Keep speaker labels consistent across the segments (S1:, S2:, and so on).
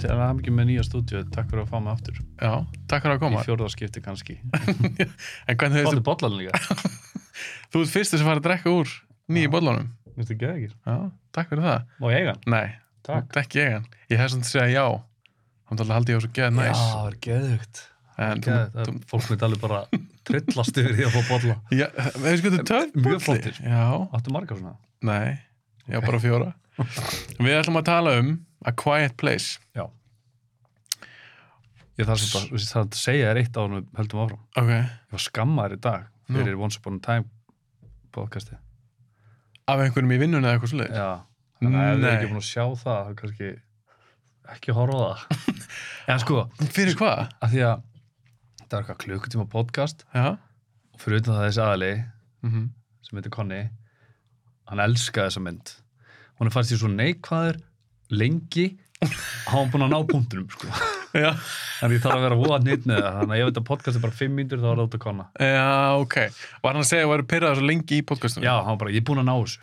S1: til að hafa mikið með nýja stúdíu takk fyrir að fá mig aftur
S2: Já, takk fyrir að koma.
S1: í fjórðarskipti kannski
S2: En hvernig hefur
S1: Fáðu bollan líka
S2: þú, þú ert fyrstur sem farið að drekka úr nýju
S1: Já.
S2: bollunum.
S1: Mér þetta geða ekki
S2: Já, takk fyrir það.
S1: Má ég eiga hann?
S2: Nei,
S1: Takk
S2: þetta ekki ég hann. Ég hef svona að segja já. Hann talaði haldið ég á svo geða næs.
S1: Já, það er geðugt
S2: En þú, þú,
S1: Fólk myndi alveg bara trillast yfir því að fá bolla
S2: já, hefur sko þetta töf
S1: Mjög flottir.
S2: Já,
S1: Áttu marga svona?
S2: nei, já
S1: Ok.
S2: bara fjóra. Við ætlum að tala um A Quiet Place.
S1: Já Ég þarf sem bara, það að segja þér eitt á hann við höldum áfram
S2: Ok.
S1: Ég var skammaður í dag fyrir Once Upon a Time podcasti
S2: Af einhverjum í vinnunni eða eitthvað svolítið.
S1: Já, þannig að ef þið er
S2: Nei.
S1: ekki búin að sjá það þá kannski ekki horfa á það En sko,
S2: Fyrir hvað?
S1: af því að þetta er eitthvað klukkutíma podcast
S2: Já.
S1: og fyrir utan það þessi aðli
S2: Mm
S1: Mhm. sem heitir Conny hann elskaði þessa mynd hún er fannst í svo neikvæður lengi að hann búin að ná punktunum sko.
S2: Já.
S1: en ég þarf að vera voða nýtt með það þannig að ég veit að podcast er bara 5 mínútur þá er það út að konna
S2: Já, ok. Var hann að segja að vera pyrraður svo lengi í podcastunum?
S1: já, hann var bara, ég er búin að ná þessu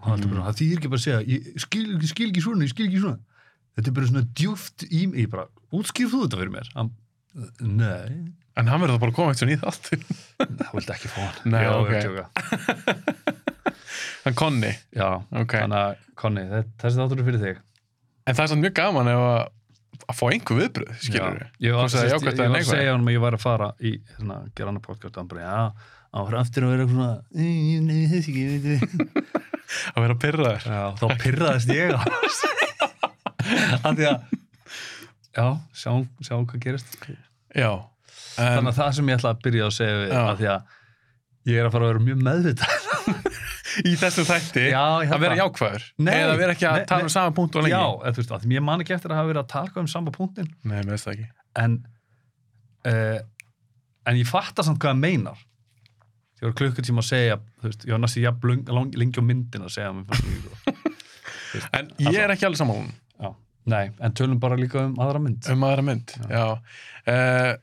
S1: og hann mm. bara, það þýðir ekki bara að segja ég skil, ég skil ekki svona, ég skil ekki svona þetta er bara svona djúft í mig ég bara, útskýr þú þetta fyrir mér hann, nei,
S2: En hann verður þá bara að koma eitt svona í þáttin.
S1: það vildi ekki fá hann
S2: Nei,
S1: já, ég er
S2: ok.
S1: að djóka.
S2: Hann konni,
S1: já,
S2: ok.
S1: Þannig að, Conny, þe- þessi þáttur er fyrir þig.
S2: En það er samt mjög gaman ef að, að fá einhver viðbröð, skilur við.
S1: Já. Ég var,
S2: Hvort það er
S1: sest, ég, ég
S2: jákvætt eða
S1: var að
S2: neikvætt.
S1: segja honum að ég var að fara í hérna, gera annar podcast og hann bara, já, hann var aftur að vera eitthvað svona, "Nei, ég- nei, ég þess ekki, ég veit ekki.
S2: Að vera pyrraður.
S1: Já, þá pyrraðist ég á hans. Af því að, já, sjáum, sjáum hvað gerist.
S2: Já. En,
S1: Þannig að það sem ég ætla að byrja að segja við,
S2: Já.
S1: af því að ég er að fara að vera mjög meðvitað.
S2: í þessu þætti,
S1: Já, ég
S2: að
S1: held
S2: vera
S1: það.
S2: jákvæður.
S1: Nei.
S2: Eða vera ekki að
S1: Nei,
S2: tala
S1: nei.
S2: um sama punkt og lengi.
S1: Já, eða, þú veist, af því ég man ekki eftir að hafa verið að tala um samba punktin,
S2: Nei, mér veist það ekki.
S1: en uh, en ég fattar samt hvað það meinar ég var klukkutíma að segja þú veist, ég var næstu jafn lung- lang- lengi á myndin að segja að mér fannst hún ekki góð.
S2: En ég er ekki alveg saman hún
S1: Já, nei, en tölum bara líka um aðra mynd
S2: um aðra mynd. Já. Uh,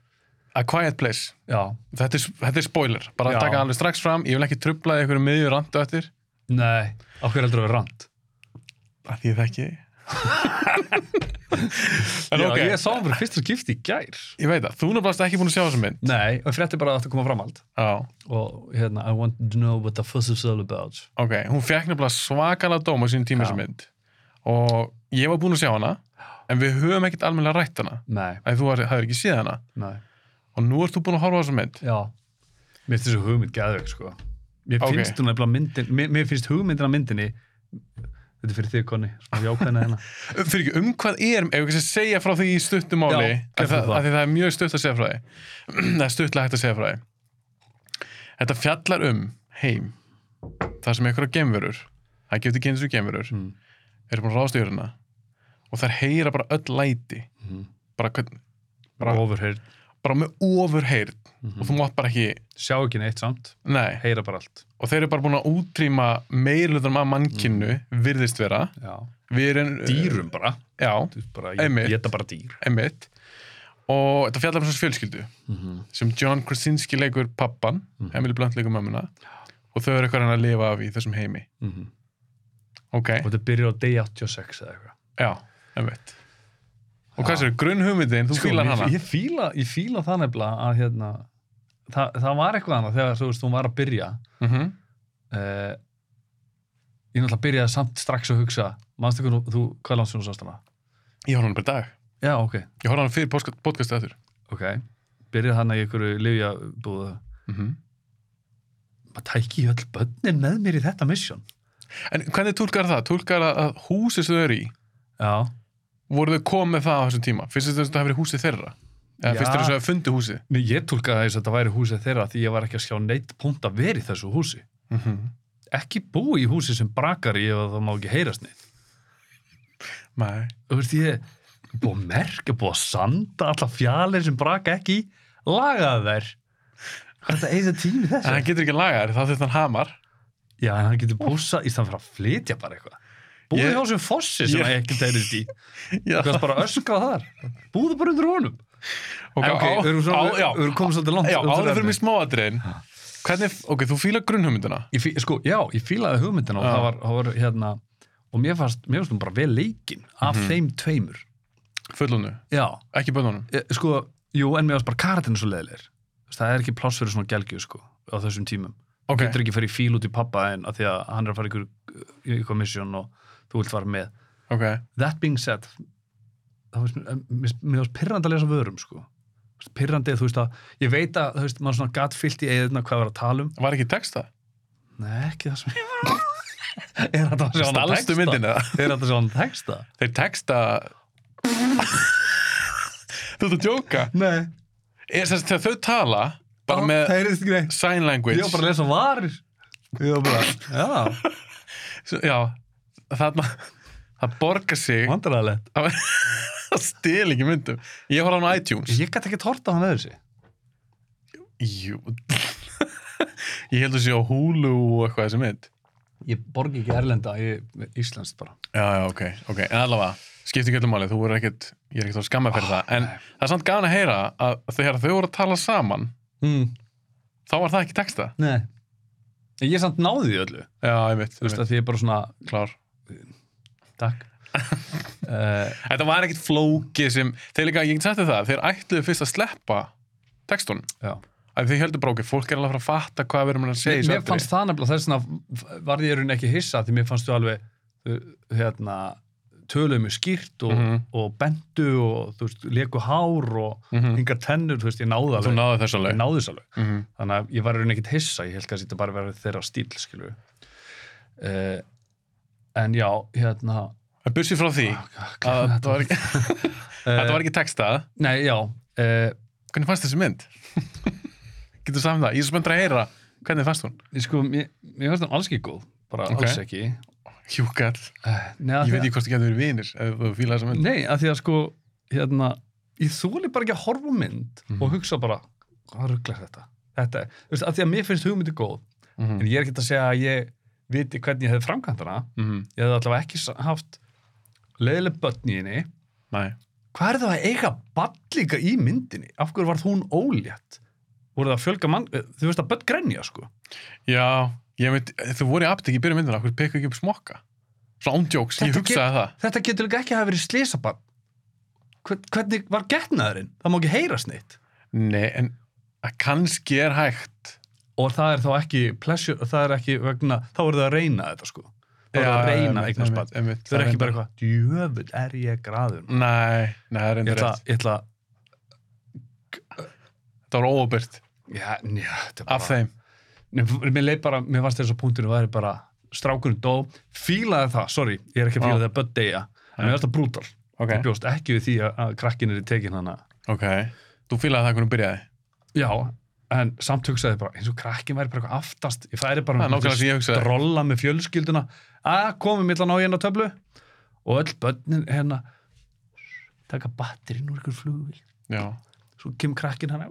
S2: a Quiet Place.
S1: já,
S2: Þetta er, þetta er spoiler. Bara
S1: Já.
S2: að taka alveg strax fram. Ég vil ekki trublaði einhverju miðjur randu eftir.
S1: nei, á hverju heldur að vera rand
S2: Að því ég þekki. þig. en
S1: já,
S2: ok,
S1: ég sá hann fyrir fyrsta skipti í gær
S2: ég veit það. Þú náttúrulega ekki búin að sjá þessu mynd.
S1: nei, og frétti bara að þetta koma fram allt
S2: Já.
S1: og hérna, I want to know what the fuss is all about
S2: Ok, hún fekk nefnilega svakalega dóma sín tíma
S1: Já.
S2: sem mynd og ég var búinn að sjá hana en við höfum ekkert almennilega rætt hana
S1: nei,
S2: að þú hafði ekki séð hana
S1: nei,
S2: og nú ert þú búinn að horfa á þessu mynd
S1: já mér finnst þessu hugmynd geðveik, sko mér
S2: Ok.
S1: finnst hún nefnilega myndin mér, mér finnst hugmyndin að myndinni þetta er fyrir þig, Conny, svona jákvæðina hérna
S2: Ö, fyrir ekki, um hvað er, ef ekki að segja frá því í stuttum máli,
S1: Já,
S2: af
S1: gerðu
S2: það,
S1: það.
S2: af því það er mjög stutt að segja frá því það er stuttlega hægt að segja frá því þetta fjallar um heim þar sem einhverja gemverur það getur kynns og gemverur
S1: Mm.
S2: eru búin að ráðast yfir hana og þær heyra bara öll læti
S1: Mhm.
S2: bara, hvern,
S1: bara
S2: hmm. Bara- Mhm.
S1: overheard
S2: bara með ofurheyrn og þú mátt bara ekki
S1: sjá ekki neitt samt,
S2: Nei,
S1: heyra bara allt
S2: og þeir eru bara búin að útrýma meirlutunum af mannkinnu virðist vera
S1: já.
S2: Við erum-
S1: Mm.
S2: eh,
S1: dýrum bara,
S2: Já,
S1: Þú veist bara
S2: Einmitt.
S1: ég geta bara dýr
S2: emitt og þetta fjallar um svona fjölskyldu sem John Krasinski leikur pappan
S1: Mhm.
S2: Emily Blunt leikur mömmuna og þau eru eitthvað hann að lifa af í þessum heimi Ok,
S1: og þetta byrjar á day 86 eða eitthvað
S2: já, emitt Og
S1: Já.
S2: hvað sér, grunnhugmyndin, þú fílar
S1: Sko, ég,
S2: hana
S1: ég, fíla, ég fíla það nefnilega að hérna, það, það var eitthvað annað þegar þú veist hún var að byrja
S2: Mhm.
S1: uh, ég náttúrulega byrjaði samt strax að hugsa manstu hvernig þú, hvað langt sem þú sást hana
S2: Ég horf hana bara í dag
S1: já, ok,
S2: Ég horf hana fyrir podcast- podcastið aður
S1: ok byrjaði hana í einhverju lifjabúðu Mhm. maður tæki ég öll börnin með mér í þetta misjón
S2: En hvernig túlkar það? Túlkar að, að húsið sem þau eru í
S1: já,
S2: voru þau komið það á þessum tíma? Finnst þau að þetta hafi verið húsið þeirra? Eða
S1: Já.
S2: finnst þau að hafa fundið húsið?
S1: Nei, ég tólkaði þess að þetta væri húsið þeirra því ég var ekki að sjá neitt punkt að vera í þessu húsi. Mhm. Ekki búi í húsi sem brakar í ef að það má ekki heyrast neitt.
S2: Nei.
S1: Þú veist, ég er búið að merka, búið að sanda alla fjalir sem braka ekki í, lagaði þær. Hvað er þetta eigið tími
S2: En
S1: þessu?
S2: hann getur ekki lagar, þá þurft hann hamar.
S1: Já, en hann getur búsa í stand fyrir að flytja bara eitthvað. Búið
S2: Ég-
S1: hjá sem fossi sem
S2: ég-
S1: ég... ekki teirist í.
S2: Já.
S1: Þú veist bara öskrað þar. Búðu bara undir honum.
S2: Ok,
S1: En
S2: á-
S1: við erum svona,
S2: á- já.
S1: við erum komið svolítið langt.
S2: Já,
S1: undir
S2: áður fyrir
S1: efnið.
S2: mig smáadriðin. Hvernig, ok, þú fílar grunnhugmyndina.
S1: Ég fí, sko, já, ég fílaði hugmyndina og
S2: Já. Mhm.
S1: það var, það var hérna og mér fannst, mér fannst hún bara vel leikinn af þeim tveimur
S2: fullonu,
S1: já,
S2: ekki bönnunum
S1: e, sko, jú, en mér varst bara karatinn svo leiðilegir það er ekki pláss fyrir svona gelgju, sko á þessum tímum,
S2: ok,
S1: getur ekki að fara í fíl út í pappa en að því að hann er að fara ykkur í eitthvað mission og þú vilt fara með
S2: ok,
S1: that being said þá finnst mér- eh, mér mér varst pirrandi að lesa vörum, sko pirrandi, þú veist að, ég veit að, þú veist, maður svona gatt fyllt í eigðina hvað var að tala um
S2: var ekki texta
S1: Nei, ekki það sem ég var Er þetta að sjá hann að
S2: stalstu
S1: texta?
S2: myndina,
S1: Er þetta að sjá hann að texta?
S2: þeir texta þú ert að djóka
S1: Nei,
S2: er þess að þau tala bara með
S1: Það er þetta ekki neitt
S2: sign language
S1: Ég var bara að lesa varir Ég var bara,
S2: S- já, þarna það borgar
S1: já,
S2: sig
S1: vandræðilegt
S2: að stila ekki myndum ég horf hann á iTunes
S1: Ég gæti ekki torta hann öðru sig
S2: Jú. ég held að sé á Hulu og eitthvað þessi mynd
S1: Ég borgi ekki erlenda, ég íslenskt bara
S2: já, já, ok, ok, en allavega skipti ekki öllum máli, þú verður ekkert ég er ekkert að skamma fyrir það, en
S1: nei.
S2: það er samt gana að heyra að þegar þau voru að tala saman
S1: mm.
S2: þá var það ekki texta
S1: Nei En Ég samt náði því öllu
S2: já, ég veit,
S1: Þú veist að því ég bara svona,
S2: klár
S1: takk uh,
S2: þetta var ekkert flóki sem, þeir líka, ég get sagt þér það þeir ætluðu fyrst að sleppa textunum
S1: Já
S2: að þið heldur bara okkur, fólk er alveg að fara að fatta hvað við erum að segja í
S1: mér,
S2: þessu
S1: mér
S2: atriði.
S1: fannst það nefnilega þess vegna varð ég í rauninni ekki hissa því mér fannst þú alveg uh, hérna, töluðu mjög skýrt og,
S2: Mhm.
S1: og bendu og þú veist, leku hár og
S2: Mhm.
S1: yngar tennur, þú veist, ég náði
S2: Þú
S1: alveg
S2: náðu þessu
S1: ég
S2: alveg
S1: náði þess alveg,
S2: Mhm.
S1: þannig að ég var í rauninni ekkit hissa ég held kannski þetta bara verið þeirra stíl skilur uh, en já, hérna ah,
S2: En bursið frá því að
S1: að,
S2: Ah, þetta var Eh. ekki, þetta var ekki textað
S1: nei, já uh,
S2: Hvernig fannst þessi mynd? Getur saman það? Ég er spenntur að heyra Hvernig fannst hún?
S1: sko, mér, mér finnst það alls ekki góð bara
S2: Ok.
S1: alls ekki
S2: Hjúkall
S1: uh, neða,
S2: Ég veit ekki hvort þú getur verið vinir eh, ef þú fílar þessa mynd
S1: Nei, af því að sko hérna, ég þóli bara ekki að horfa á mynd
S2: Mhm.
S1: og hugsa bara, hvað rugglar þetta? Þetta, er- þú veist, af því að mér finnst hugmyndi góð en
S2: Mhm.
S1: ég er ekki að segja að ég viti hvernig ég hefði framkvæmt hana
S2: Mhm.
S1: ég hefði allavega ekki sa- haft leiðileg börn í henni
S2: Nei
S1: hvað er það að eiga ballíka í myndinni? Af hverju varð hún ólétt? Voru það að fjölga mann eh, þú veist að börn grenja sko
S2: Já, ég veit, þú voru í aptek í byrjum myndina Hvernig pekka ekki upp smokka? Svona ándjóks, ég
S1: Þetta
S2: hugsaði það
S1: þetta getur líka ekki að hafa verið slisabann hvernig var getnaðurinn? það má ekki heyrast neitt
S2: Nei, en að kannski er hægt
S1: og það er þá ekki pleasure, það er ekki vegna, þá eru það að reyna þetta sko þá eru það að reyna eignarspall þau eru ekki bara eitthvað, djöfull er ég graður maður."
S2: Nei, nei, það er
S1: ég
S2: endur
S1: ætla,
S2: Mm, rétt
S1: ég ætla
S2: Það var óopirt
S1: já, njá, þetta er bara
S2: af þeim
S1: Nei, mér leið bara, mér varst þess að punktinu væri bara strákurinn dó, fílaði það sorry, ég er ekki að
S2: Vá.
S1: fíla það börn deyja en mér varst það brútal,
S2: Ok,
S1: ég bjóst ekki við því að, að krakkin er í tekin hana
S2: ok Þú fílaði það hvernig byrjaði
S1: já, en samt hugsaði bara eins og krakkin væri bara eitthvað aftast ég færi bara
S2: Það er nákvæmlega sem ég hugsaði.
S1: drolla með fjölskylduna að komum millan á hérna töflu og öll börnin hérna taka batterinn úr ykkur flugvill
S2: Já,
S1: svo kem krakkin hann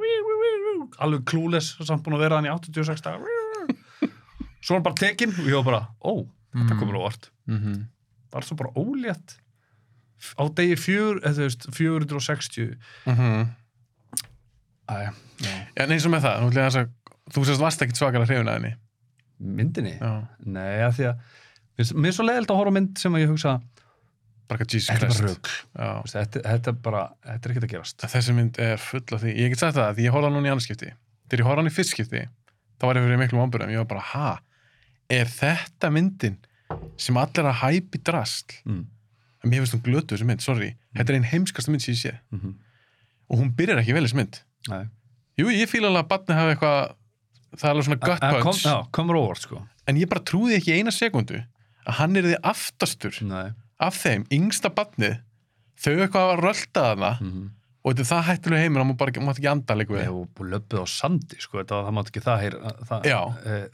S1: alveg klúles samt búin að vera hann í 86 dagar svo var hann bara tekinn og ég var bara, ó, þetta
S2: Mm.
S1: komur óvart
S2: mm
S1: var svo bara ólétt á degi fjör, eða þú veist 460
S2: Mhm.
S1: Æ, já.
S2: En eins og með það, nú ætlum ég aðeins að Þú sérst varst ekkit svakalega hrifin að henni
S1: myndinni
S2: Já,
S1: Nei, að því að mér finnst- mér er svo leiðilt að horfa á mynd sem að ég hugsa
S2: bara eitthvað Jesus
S1: Þetta er
S2: Christ
S1: bara rögg
S2: Já.
S1: þetta, þetta er bara, þetta er ekkert að gerast
S2: Þessi mynd er full af því Ég get sagt það því ég horfði á hann núna í annarskipti Þegar ég horfði á hann í fyrstskipti þá var ég fyrir miklum ámbyrðum Ég var bara, ha, er þetta myndin sem allir er að hæpi drasl
S1: mm.
S2: En mér finnst hún glötu þessi mynd, sorry Þetta er einn heimskasta mynd sem ég sé
S1: Mm -hmm.
S2: Og hún byrjar ekki vel þessi mynd
S1: Nei.
S2: Jú, ég fíla alveg að batni hafa eitthvað Það er alveg svona gut punch
S1: kom, já, komur óvart sko
S2: en ég bara trúði ekki í eina sekundu að hann er því aftastur
S1: Nei.
S2: af þeim, yngsta batnið þau eitthvað að rölda þarna
S1: Mm -hmm.
S2: og þetta er það hættulega heimur, hann má bara ekki- mátt ekki anda líka við
S1: Ég hef löppuð á sandi sko, þetta, það mátt ekki það heyr það,
S2: Já.
S1: e,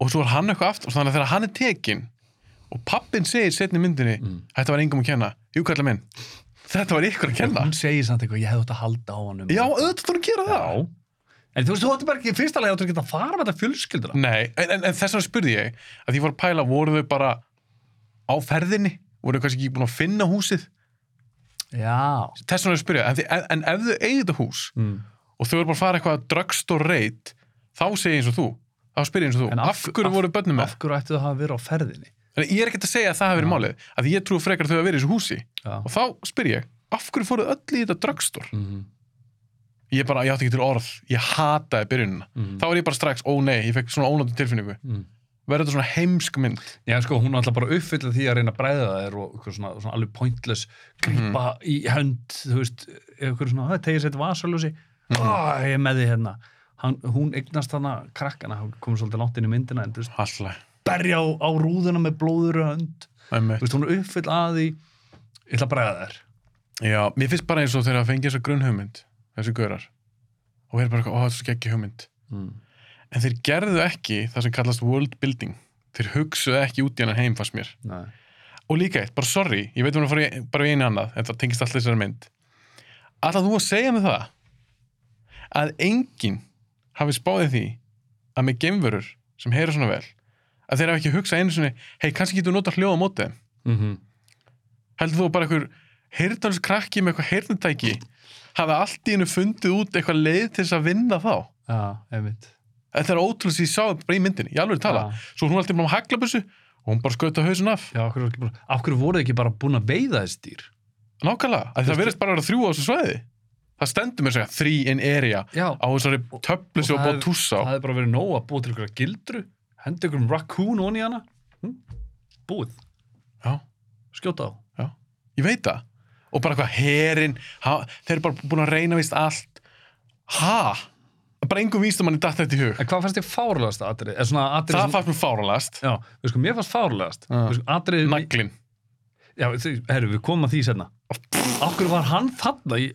S2: og svo er hann eitthvað aftur, þannig að þegar hann er tekin og pappin segir setni myndinni
S1: Mm.
S2: þetta var engum að kenna, jú kallar minn þetta var ykkur að kenna
S1: Hún segir samt eitthvað, ég hefði átt að halda á hann um
S2: já, auðvitað þú að gera það
S1: Já. En þú veist, þú ætti bara ekki í fyrsta leið að geta að fara með þetta fjölskyldra
S2: Nei, en, en, en þess vegna spurði ég að ég var að pæla, voru þau bara á ferðinni, voru þau kannski ekki búin að finna húsið,
S1: Já
S2: þess vegna spurði ég en, þi- en, en ef þau eigið þetta hús
S1: mm.
S2: og þau eru bara að fara eitthvað drugstore reit þá segi ég eins og þú þá spyr ég eins og þú,
S1: En
S2: af,
S1: af-
S2: hverju
S1: af-
S2: voru börnum með?
S1: Af hverju ættu það að vera á ferðinni?
S2: En ég er ekkert að segja að það hafi verið
S1: Já.
S2: málið, að ég trú frekar að þau að vera í þessu húsi
S1: Já.
S2: og þá spyr ég, af hverju fóruð öll í þetta drugstore
S1: mm -hmm.
S2: ég bara, ég átti ekki til orð, ég hataði byrjunina þá er ég bara strax, ó nei, ég fekk svona ónáttu tilfinningu
S1: Mm.
S2: verður þetta svona heimsk mynd
S1: Já, sko, hún er alltaf bara uppfyllið því að reyna að bræða þær og eitthvað svona, svona alveg pointless grípa í hönd, þú veist eitthvað svona, það tegir sér vasaljósi mm. ég er með því hérna Hann, hún eignast hana krakkana, hann komur svolítið langt inn í myndina en þú veist,
S2: alltaf,
S1: berja á, á rúðuna með blóðuru hönd þú
S2: einmitt
S1: veist, hún er uppfyll að því ég ætla að bræða þær
S2: já, mér finnst bara eins og þegar að fengi þessa grunnhugmynd þessi görar og er bara, eitthvað, ó, þetta er svo geggi hugmynd
S1: mm.
S2: en þeir gerðu ekki það sem kallast world building þeir hugsuðu ekki út í hennan heim fannst mér
S1: Nei.
S2: og líka eitt, bara sorry, ég veit um að fara í, bara í einu annað, en það tengist alltaf þessari mynd Alltaf þú að segja mig það að enginn hafi spáðið því að með geimverur sem heyra svona vel að þeir hafi ekki hugsað einu svona hei, kannski getur við notað hljóð á móti þeim
S1: Mm -hmm.
S2: heldur þú að bara einhver heyrðans krakki með eitthvað heyrðantæki hafi allt í hennu fundið út eitthvað leið til þess að vinna þá
S1: Já, einmitt
S2: Þetta er ótrúlega sem ég sá það bara í myndinni, ég alveg tala
S1: Já.
S2: Svo hún er alltaf bara með haglabussu og hún bara skauta hausin af
S1: Já, af hverju, var ekki bara, af hverju voru þið ekki bara búin að veiða þessi dýr?
S2: Nákvæmlega, að það verðist bara að vera þrjú á þessu svæði Það stendur mér að segja þrý in area
S1: Já,
S2: á þessari töflu sem
S1: og
S2: var búið
S1: það
S2: að tússa á
S1: það hefði bara verið nóg að búa til ykkur gildru henda ykkur um raccoon onni hana hm? búið,
S2: Já,
S1: skjóta á
S2: ég veit það Og bara eitthvað herin ha, Þeir eru bara búin að reyna vist allt Ha? Bara engum vístum manni datt þetta í hug
S1: en hvað fannst þér fárlegast atrið? Er svona atrið
S2: Það fannst mér fáralegast
S1: Já, við sko, mér fannst fárlegast
S2: Já.
S1: Við sko, atrið
S2: Naglin
S1: Já, þau- herru, við komum að því senna Af hverju var hann þarna í,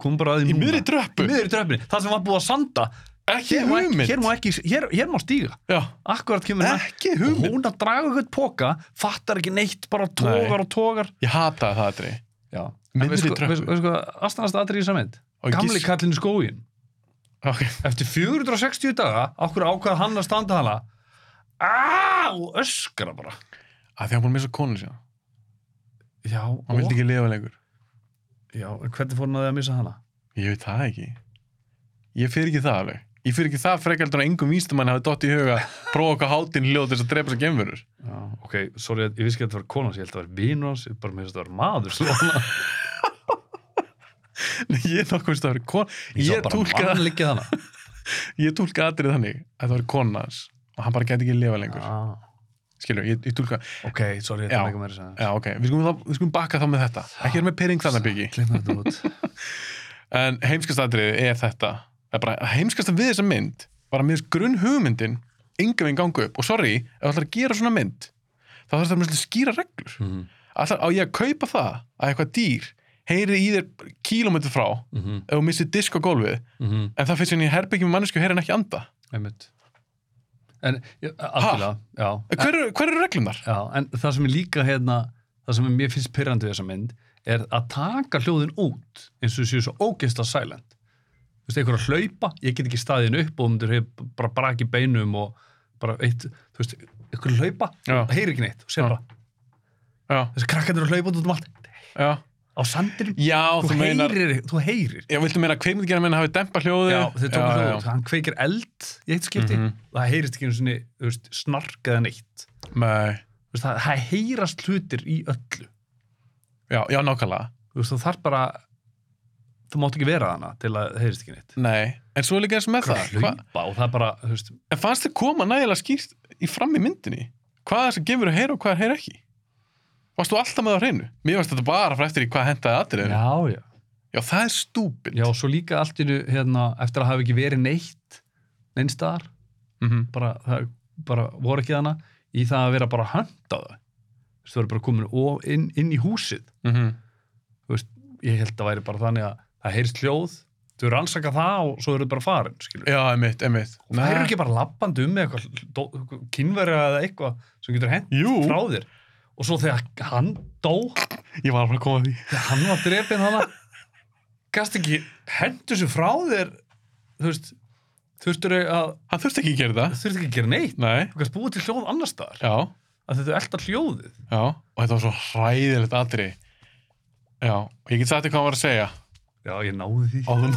S1: kom bara að því
S2: Í miðri
S1: Í
S2: dröppu
S1: miðri dröfni, það sem var búið að sanda
S2: Ekki
S1: Hér má ekki, hér
S2: hugmynd
S1: má, ekki, hér, hér má stíga
S2: Já,
S1: Akkurat kemur hann
S2: Ekki
S1: Og
S2: hugmynd
S1: hún að draga eitthvað póka, fattar ekki neitt, bara tógar og tógar
S2: Ég hataði það aðri
S1: Já,
S2: Miðri
S1: miðri
S2: tröppu.
S1: tröppu Við sko, astanast aðrið í samend
S2: Og ég
S1: Gamli
S2: gisk-
S1: kallinn í skógin
S2: Ok,
S1: Eftir 460 daga, okkur ákvað hann að standa hana Á, og öskra bara
S2: að því að hann búin að missa konu sína
S1: Já, og,
S2: Hann vildi ekki lifa lengur
S1: já hvernig fór hann að því að missa hana?
S2: Ég veit það ekki. Ég fyrir ekki það alveg. Ég fyrir ekki það frekaldur að engum vístumann hafi dott í huga að prófa okkar hátinn hljóð til þess að drepa þess að gemverur.
S1: Já, ok, sorry, ég vissi ekki að þetta var konan ég held að það var vinur hans, ég bara með þess að þetta var maður svona.
S2: Ég er nokkuð veist að það veri kona. Ég, túlka,
S1: mann liggja hana
S2: ég túlka atrið þannig að það veri kona hans og hann bara gæti ekki að lifa lengur.
S1: ah,
S2: Skilur, ég, ég túlka,
S1: Ok, sorry,
S2: Já.
S1: þetta var ekki meira sem
S2: já ok, við skulum, þá, við skulum bakka þá með þetta. Ekki er með pering þannig byggi.
S1: Klipna Ah, þetta út
S2: En heimskast atrið er þetta. Það er bara heimskast við þessa mynd var að miðast grunn hugmyndin yngan veginn gangu upp. Og sorry, ef þú ætlar að gera svona mynd, þá þarf þetta að skýra reglur.
S1: mm
S2: Ætlar, á ég að kaupa það að eitthvað dýr heyri í þér kílómetri frá ef
S1: -hmm.
S2: þú missir disk á gólfið
S1: Mm -hmm.
S2: en það finnst henni í herbyggjum með mannesku heyri hann ekki anda
S1: Einmitt En, ja, algjörlega, já
S2: Eh, hver, eru- hver eru reglumnar?
S1: Já, en það sem er líka hérna, það sem er mér finnst pyrrandi við þessa mynd er að taka hljóðin út eins og séu svo ógeðsla silent. Þú veist, einhver að hlaupa, ég get ekki staðin upp og myndir hef bara braki beinum og bara eitt, þú veist, einhver að hlaupa,
S2: Já.
S1: heyri ekki neitt og sér
S2: Já.
S1: bara,
S2: Já,
S1: þessi krakkandur að hlaupa út um allt,
S2: já.
S1: á sandinum,
S2: já
S1: þú,
S2: þú meinar
S1: heyrir, ekki- þú heyrir.
S2: Já, viltu meina að kveimundgerðar menn hafi dempa hljóði?
S1: Já, þeir tóku hljóð út, hann kveikir eld í eitt skipti
S2: Mhm.
S1: og það heyrist ekki einu sinni, þú veist, snark eða neitt.
S2: Nei,
S1: Þú veist, það, það heyrast hlutir í öllu.
S2: já, já, nákvæmlega.
S1: þú veist, þú þarf bara þú mátt ekki vera þarna til að það heyrist ekki neitt
S2: Nei, en svo er líka eins og með
S1: Hvað
S2: það.
S1: að
S2: Hva,
S1: hlaupa og það er bara, þú veist
S2: en fannst þið koma nægilega skýrt í fram í myndinni? Hvað er það sem gefur að heyra og hvað er heyra ekki? Varst þú alltaf með það á hreinu? Mér varst þetta bara frá eftir í hvað hendaði aðrið. Já.
S1: já, já,
S2: það er stúpind.
S1: já, og svo líka allt innu hérna, eftir að hafa ekki verið neitt neinstar,
S2: Mhm.
S1: bara, það, bara voru ekki þarna í það að vera bara að hönda það þú veist, þú eru bara komin of- inn, inn í húsið
S2: Mhm.
S1: þú veist, ég held að væri bara þannig að það heyrist hljóð, þú eru rannsaka það og svo eru bara farin, skilur
S2: Já, einmitt, einmitt.
S1: það eru ekki bara lappandi um með eitthvað kynverja eða eitthvað sem getur hent
S2: Jú,
S1: frá þér og svo þegar hann dó
S2: ég var bara að koma að því.
S1: þegar hann var drepinn hana gast ekki hendur sér frá þér þú veist þurftur að
S2: Hann þurfti ekki að gera það.
S1: þurftur ekki að gera neitt
S2: Nei.
S1: þú gast búið til hljóð annar staðar
S2: Já,
S1: að þetta er alltaf hljóðið
S2: já. Og þetta var svo hræðilegt atri. Já, og ég get sagt þér hvað hann var að segja.
S1: já ég náði því
S2: Áðun.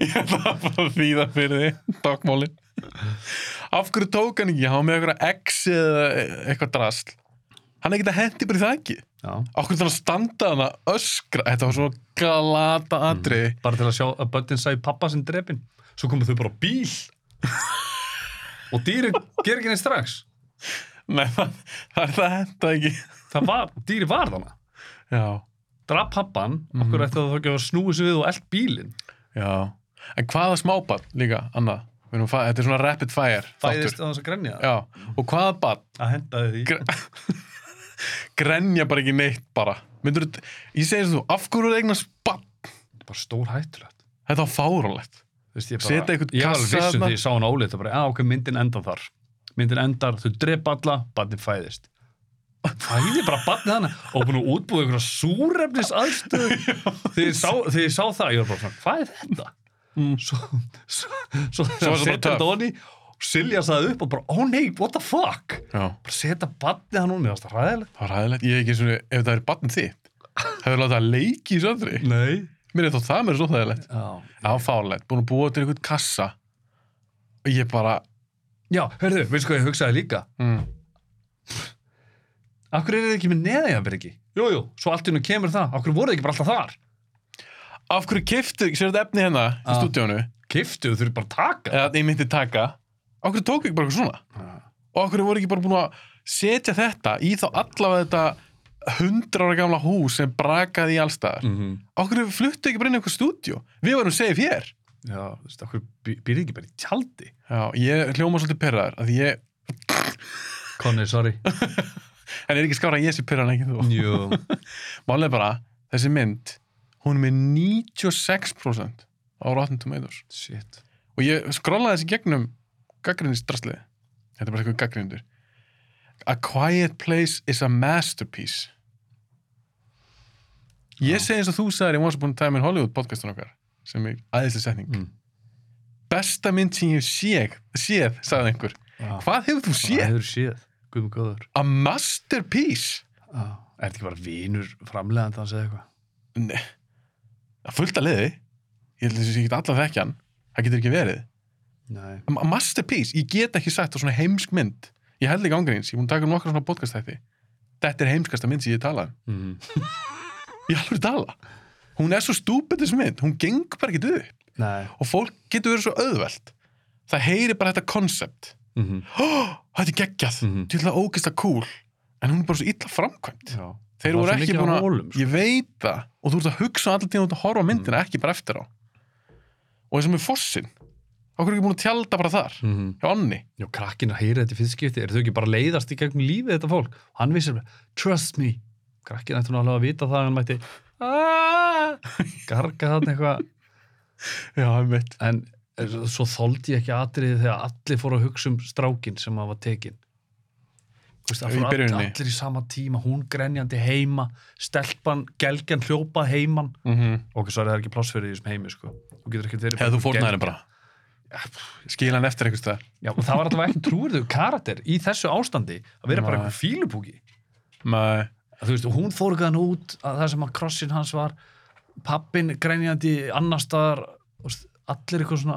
S2: ég ætla að bara að þýða fyrir því, dogmálin. Af hverju tók hann ekki? Hann var með eitthvað X eða eitthvað drasl. Hann er ekki að hendi bara í það ekki.
S1: já.
S2: Okkur þannig að standa hana öskra Þetta var svo galata atri
S1: bara til að sjá að börnin sagði pappa sinn drepin svo komu þau bara á bíl og dýrin ger ekki neitt strax
S2: Nei, það, það er það henda ekki
S1: það var, dýri var þarna
S2: Já,
S1: draf pappan, okkur ætti það þá ekki að snúi sig við og eld bílinn
S2: já En hvaða smábann líka, Anna Við erum að fa- Þetta er svona rapid fire
S1: fæðist á
S2: þáttur
S1: þess að grenja það
S2: Já, og hvaða bann
S1: að hendaði því
S2: Gre- Grenja bara ekki neitt bara Myndur, Ég segi þess að þú, af hverju er eignast bann?
S1: bara stór hættulegt
S2: Þetta var fáránlegt
S1: Vist, ég, bara,
S2: Setja einhvern
S1: ég var alveg
S2: kassa
S1: vissum
S2: þarna.
S1: því ég sá hann álið bara, já ok, myndin endar þar myndin endar, þau drep alla, barnið fæðist fæði bara barnið hana og búin að útbúið einhverja súrefnis aðstöðu þegar ég sá, þegar ég sá það ég var bara svona, hvað er þetta?
S2: Mm.
S1: svo, svo, svo,
S2: það
S1: svo
S2: bara
S1: setja
S2: töff.
S1: þetta onni og Silja saði upp og bara, ó nei, what the fuck
S2: Já,
S1: bara setja barnið hann onni, það er ræðilegt
S2: það var ræðilegt Ég er ekki svona, ef það er bann þitt Hefur látað að leiki í söndri
S1: nei
S2: Mér er þó það mér er svo þægilegt
S1: já,
S2: Það var fárlegt, búin að búa til einhvern kassa og ég bara
S1: já hörðu, veistu hvað ég hugsaði líka
S2: mm,
S1: af hverju er þið ekki með neðajafverki? Jú, jú, svo allt í hennu kemur það, af hverju voruð þið ekki bara alltaf þar?
S2: af hverju kiftu, sér þetta efni hérna í
S1: Ah.
S2: stúdíónu,
S1: kiftu, þú þurfir bara að taka
S2: eða ég myndi taka af hverju tók ekki bara eitthvað svona
S1: ja.
S2: og af hverju voru ekki bara búin að setja þetta í þá allavega þetta hundra ára gamla hús sem brakaði í allstaðar
S1: mm -hmm.
S2: af hverju fluttu ekki bara inn í eitthvað stúdíó við varum safe hér
S1: já, þú veist, okkur býrði ekki bara í tjaldi
S2: Já, ég hljóma svolítið perraðar að ég,
S1: Conny, sorry
S2: en er ekki skára að ég sé perraðan ekki þú
S1: Jú,
S2: Málið er bara, þessi mynd, hún er með 96% á Rotten Tomatoes.
S1: shit
S2: Og ég skrollaði þessi gegnum gaggrindistrasliði. Þetta er bara eitthvað gaggrindur. A Quiet Place is a Masterpiece. Ég
S1: Já.
S2: segi eins og þú sagðir í Once Upon a Time in Hollywood podcastun okkar, sem er aðeinslega setning.
S1: Mm.
S2: Besta mynd sem ég séð, séð, sagði einhver. Hvað hefur þú
S1: Það
S2: séð?
S1: hefur séð, guðum góður
S2: A Masterpiece?
S1: já. Er þetta ekki bara vinur framlegandi hans eða eitthvað?
S2: Nei, að fullt að liði ég held að þessi ekki allar þekkja hann það getur ekki verið
S1: Nei
S2: A masterpiece, ég get ekki sagt á svona heimsk mynd ég held ekki ángríns, ég er búin að taka um nokkra svona podcast þætti þetta er heimskasta mynd sem ég tala um
S1: mm.
S2: ég alveg tala, hún er svo stúpid þessi mynd, hún gengur bara ekki upp
S1: Nei
S2: og fólk getur verið svo auðvelt það heyri bara þetta koncept
S1: mm -hmm.
S2: þetta er geggjað, mm
S1: Mhm.
S2: -hmm. til það ógist að cool en hún er bara svo illa framkvæmt
S1: Já
S2: þeir
S1: Það
S2: voru
S1: var svo
S2: ekki
S1: mikið
S2: búin
S1: af
S2: að
S1: hólum, sko. Mhm.
S2: ég veit það og þú ert að hugsa allir tíma út að horfa á myndina ekki bara eftir á og þessum er fossin okkur ekki búin að tjálta bara þar
S1: mm -hmm.
S2: hjá Anni
S1: Já, krakkinn að heyra þetta í fyrst skipti eru þau ekki bara að leiðast í gegnum lífið þetta fólk? Og hann vissi bara, trust me krakkinn ætti nú alveg að vita það að hann mætti "Ah", garga þarna eitthvað
S2: já, einmitt
S1: en er- svo þoldi ég ekki atriði þegar allir fóru að hugsa um strákinn sem að var tekin Þú veist, það
S2: Í
S1: fóru allir,
S2: byrjuninni.
S1: allir í sama tíma hún grenjandi heima, stelpan gelgjan hljópa heiman
S2: mm
S1: ok, svo er það er ekki pláss fyrir því sem heimi sko. þú getur ekki verið
S2: hefðu
S1: bara
S2: þú
S1: gelgjan.
S2: fórnaði henni bara skila hann eftir einhvers það
S1: Já, og það var alltaf ekki trúirðu karakter í þessu ástandi að vera bara
S2: Nei.
S1: eitthvað fílupúki
S2: með
S1: Að þú veist, og hún fór gæðan út að það sem að krossin hans var pappin grænjandi annar staðar þú veist, allir eitthvað svona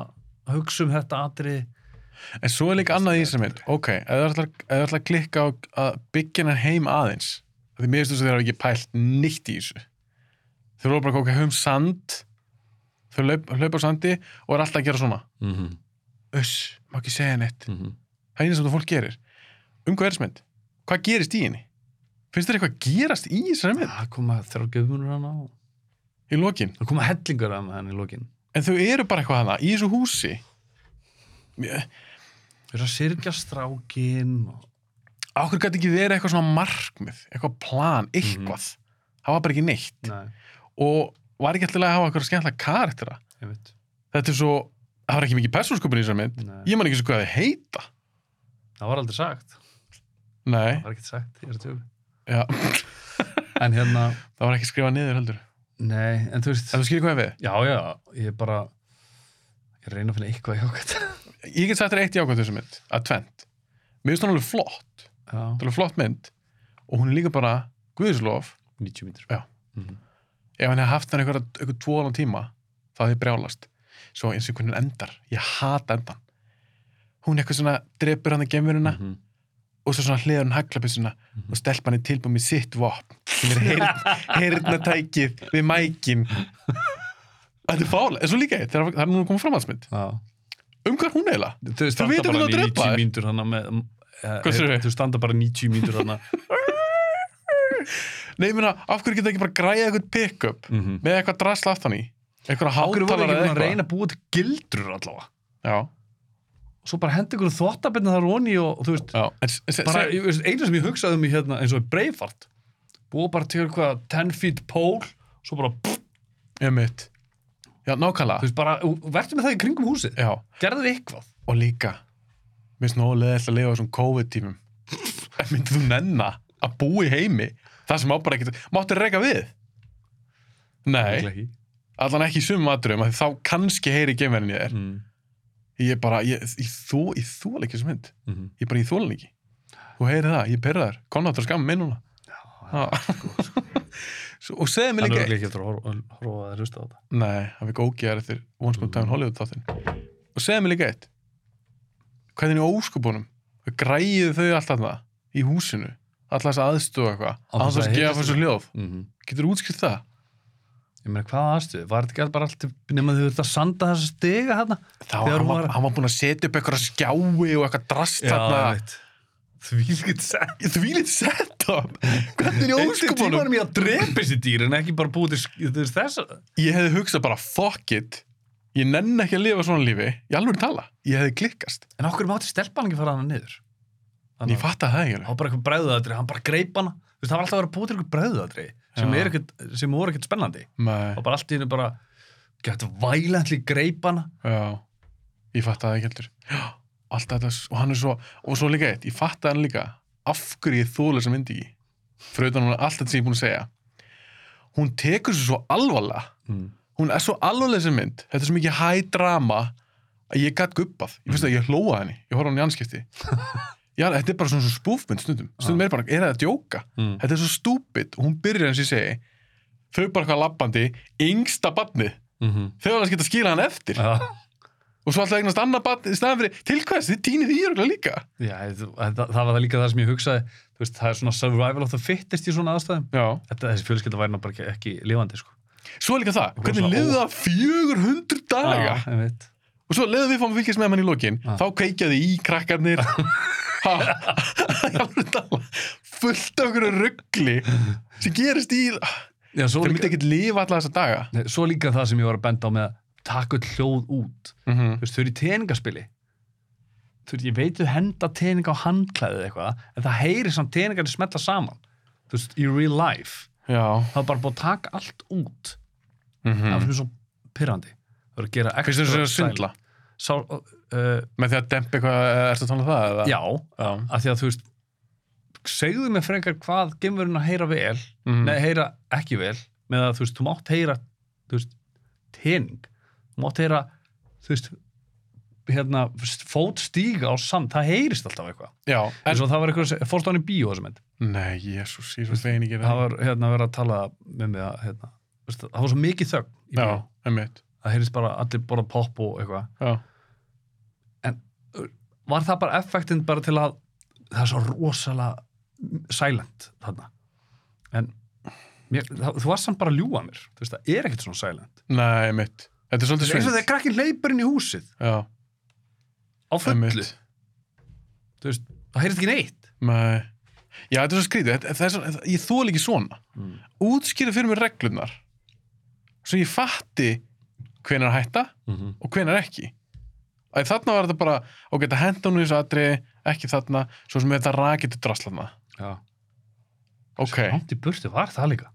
S1: að hugsa um þetta atrið
S2: En svo er líka annað í þessari mynd Ok, ef þú ætlar, ef þú ætlar að klikka á að byggja hennar heim aðeins af Því mér finnst þess að þeir hafa ekki pælt nýtt í þessu Þeir eru bara ok, höfum sand Þau laup, laupa á sandi og er alltaf að gera svona
S1: mm -hmm.
S2: Uss, má ekki segja neitt
S1: mm -hmm.
S2: Það er einu sem þú fólk gerir Um hvað er þessari mynd? Hvað gerist í henni? Finnst þér eitthvað gerast í þessari mynd?
S1: það koma þrjá göfumur hann á
S2: Í lokin
S1: það koma hellingar hann hann í lokin
S2: En þau eru bara eitthvað hana í þessu húsi Mér-
S1: þau eru að sirkja strákin og...
S2: Á hverju gæti ekki verið eitthvað svona markmið Eitthvað plan, eitthvað Það var bara ekki neitt
S1: nei,
S2: og var ekki alltaf að hafa eitthvað skemmtilega karaktera
S1: ég veit
S2: þetta er svo, það var ekki mikið persónskupin í þessar mynd
S1: nei.
S2: ég man ekki svo hvað þið heita
S1: það var aldrei sagt
S2: nei,
S1: það var ekkert sagt, ég er að tjóka
S2: já, það
S1: en hérna,
S2: var ekki skrifað niður heldur en
S1: nei, en þú veist
S2: þú skilur hvað ég við,
S1: já, já, ég er bara ég reyna að finna eitthvað í okkar
S2: ég get sagt þér eitt jákvæmt í þessar mynd að tvent, mér finnst hún alveg flott
S1: já,
S2: þetta er alveg flott mynd og hún er líka bara guðislof,
S1: 90 mítur
S2: Já.
S1: Mhm.
S2: ef hann hefði haft hann einhver, einhver tvoðan tíma, það hefði brjálast svo eins og hvernig hann endar, ég hata endan hún eitthvað svona drepur hann að gemurina
S1: -hmm.
S2: og svo svona hliður hann haglabissuna
S1: Mhm.
S2: og stelpan er tilbúin með sitt vopn sem er heyrn, heyrnatækið við mækin þetta er fálega, en svo líka eitt þegar það er núna komið framhaldsmynd
S1: Já.
S2: um hvað er hún eiginlega?
S1: Þau standa
S2: vitum
S1: bara
S2: hvernig þú
S1: 90
S2: drepa þær.
S1: mínútur hana með eh,
S2: Hvað segirðu?
S1: Þau standa bara 90 mínútur hana
S2: Nei, ég meina, af hverju geta ekki bara græða eitthvað pick-up
S1: Mhm.
S2: með eitthvað drasla aftan í eitthvað
S1: Ákveður voru ekki búin um
S2: hátalara eða
S1: að
S2: eitthvað
S1: reyna að búa til gildrur allavega
S2: já,
S1: og svo bara hendi ykkur þvottabirna þar onni og og þú veist,
S2: já, en s- s-
S1: bara,
S2: seg-
S1: ég veist, einu sem ég hugsaði um í hérna eins og breyfart búa bara til eitthvað 10 feet pole svo bara, pff,
S2: ég mitt já,
S1: þú
S2: nákvæmlega,
S1: veist, bara verður með það í kringum húsið,
S2: já,
S1: gerðu eitthvað
S2: og líka mér finnst nógu leðilega að lifa á þessum COVID-tímum en myndið þú nenna að búa í heimi það sem á bara ekkert, máttu reyka við nei,
S1: Örugglega ekki.
S2: allan ekki í sumum aðdurum þá kannski heyri geimverðin ég er
S1: Mm.
S2: ég bara, ég, ég, þó, ég þóla ekki þessu mynd
S1: Mhm.
S2: ég bara, ég þóla ekki þú heyri það, ég perra þar, konáttur skam minn núna Já, Svo- og segðu
S1: sko, Hann er
S2: mér líka
S1: örugglega ekki eftir að horfa að horfa að hlusta á þetta
S2: Nei, hann fikk ógeðar eftir Once Upon a Time in Hollywood þáttinn og segðu mér líka eitt hvernig í óskupunum græðu þau allt þarna í húsinu alltaf þess aðstofa eitthvað
S1: Án
S2: án
S1: þess að
S2: þess að gefa
S1: hittast
S2: þessu hljóð
S1: Mhm.
S2: getur útskilt það?
S1: Ég meina, hvað aðstöðu? Var þetta ekki bara allt til- nema þau verður að sanda þessa stiga hérna?
S2: Þá,
S1: Þegar
S2: hann,
S1: hún
S2: var,
S1: var-
S2: hann var búin að setja upp eitthvað skjái og eitthvað drast þarna
S1: veit. Þvílíkt sett.
S2: því lítið sett hvernig
S1: Undir
S2: í óskupunum?
S1: tímanum ég að drepa þessi dýr en ekki bara búið til sk- til þess að...
S2: Ég hefði hugsað bara fuck it ég nenn ekki að lifa svona lífi ég alveg tala, ég hefði klikkast
S1: En okkur mátti stelpan ekki fara hana niður.
S2: en ég fatt það ekki
S1: Það
S2: alveg.
S1: var bara eitthvað bræðuðatri, hann bara greip hana. Þú veist, það var alltaf að vera búið til eitthvað bræðuðatri sem,
S2: Já.
S1: er ekkert- sem voru ekkert spennandi.
S2: Nei,
S1: Og bara allt í hennu bara gett vælendli greip hana.
S2: Já, ég fatt að það ekki heldur Já, Allt þetta, og hann er svo og svo líka eitt, ég fatt hann líka af hverju ég þóla sem myndi ekki fröðan hún er allt þetta sem ég er búin að segja hún tekur sér svo alvarlega
S1: Mm.
S2: hún er svo alvarlega sem mynd þetta er svo mikið high drama að ég gatt guppað, ég finnst að ég hlóa henni ég horf á hann í anskipti Já, þetta er bara svona svona spúfmynd stundum stundum er bara, er það að djóka
S1: Mm.
S2: þetta er svo stúpid, hún byrjar eins og ég segi þau bara hvað labbandi yngsta barnið,
S1: Mm -hmm.
S2: þau alveg skilja að skila hann eftir og svo alltaf eignast annað barn í staðan fyrir til hvers, þið týnið því örgulega líka
S1: Já, það, það það var það líka það sem ég hugsaði. Þú veist, það er svona survival of the fittest í svona aðstæðum.
S2: já.
S1: Þetta, þessi fjölskylda væri nú bara ekki, ekki lifandi, sko.
S2: svo er líka það,
S1: Rosa
S2: hvernig liðu það 400 daga
S1: Já, einmitt.
S2: og svo leiðu við fáum að fylgjast með mann í lokin
S1: Já.
S2: þá kveikjaði í krakkarnir Ha, í alvöru tala. fullt af okkur ruggli sem gerist í þeir
S1: Já, svo líka-
S2: myndi ekkert lifa alla þessa daga
S1: Nei, Svo líka það sem ég var að benda á með að taka öll hljóð út.
S2: mm -hmm.
S1: Þú veist, þau eru í teningaspili. Þú veist, ég veit þau henda teninga á handklæðið eitthvað, en það heyri samt teningarnir smetla saman. Þú veist, í real life.
S2: já
S1: Það er bara búið að taka allt út.
S2: mm
S1: Það finnst mér svo pyrrandi. Það er að gera
S2: finnst
S1: ekstra...
S2: þú þessu að svindla
S1: Sá, uh,
S2: með því að dempa eitthvað, ertu að tala um það? eða?
S1: já,
S2: já.
S1: af því að þú veist, segðu mér frekar hvað gemurinn að heyra vel,
S2: Mm.
S1: nei, heyra ekki vel, með að þú veist, þú mátt heyra, þú veist, tening, þú mátt heyra, þú veist, hérna, fót stíga á samt, það heyrist alltaf eitthvað.
S2: já.
S1: En
S2: En,
S1: svo það var eitthvað, fórst á hann í bíó þessum mynd,
S2: nei, jésús, ég er svo fegin ég gera
S1: það var hérna verið að tala með mig að, hérna, þú veist, það var svo mikið þögn í
S2: já,
S1: bíó,
S2: einmitt
S1: það heyrist bara allir borða popp og eitthvað.
S2: já.
S1: Var það bara effektinn bara til að, það er svo rosalega silent þarna, en mér, það, þú varst samt bara að ljúga mér, þú veist, það er ekkert svona silent.
S2: Nei, mitt. Þetta er svolítið
S1: eins og
S2: svindl.
S1: þegar krakkin hleypur inn í húsið
S2: Já,
S1: á fullu
S2: einmitt.
S1: þú veist, það heyrðist ekki neitt
S2: Nei. Já, þetta er svo skrítið. Þetta- Það er svo, ég þóla ekki svona.
S1: Mm.
S2: Útskýra fyrir mér reglurnar. Svo ég fatti hvenar hætta
S1: Mhm.
S2: og hvenar ekki. Æ, þarna var þetta bara, ok, þetta henda hún í þessu atri, ekki þarna, svo sem þetta rakitu draslana.
S1: já,
S2: Ok,
S1: langt í burtu var það líka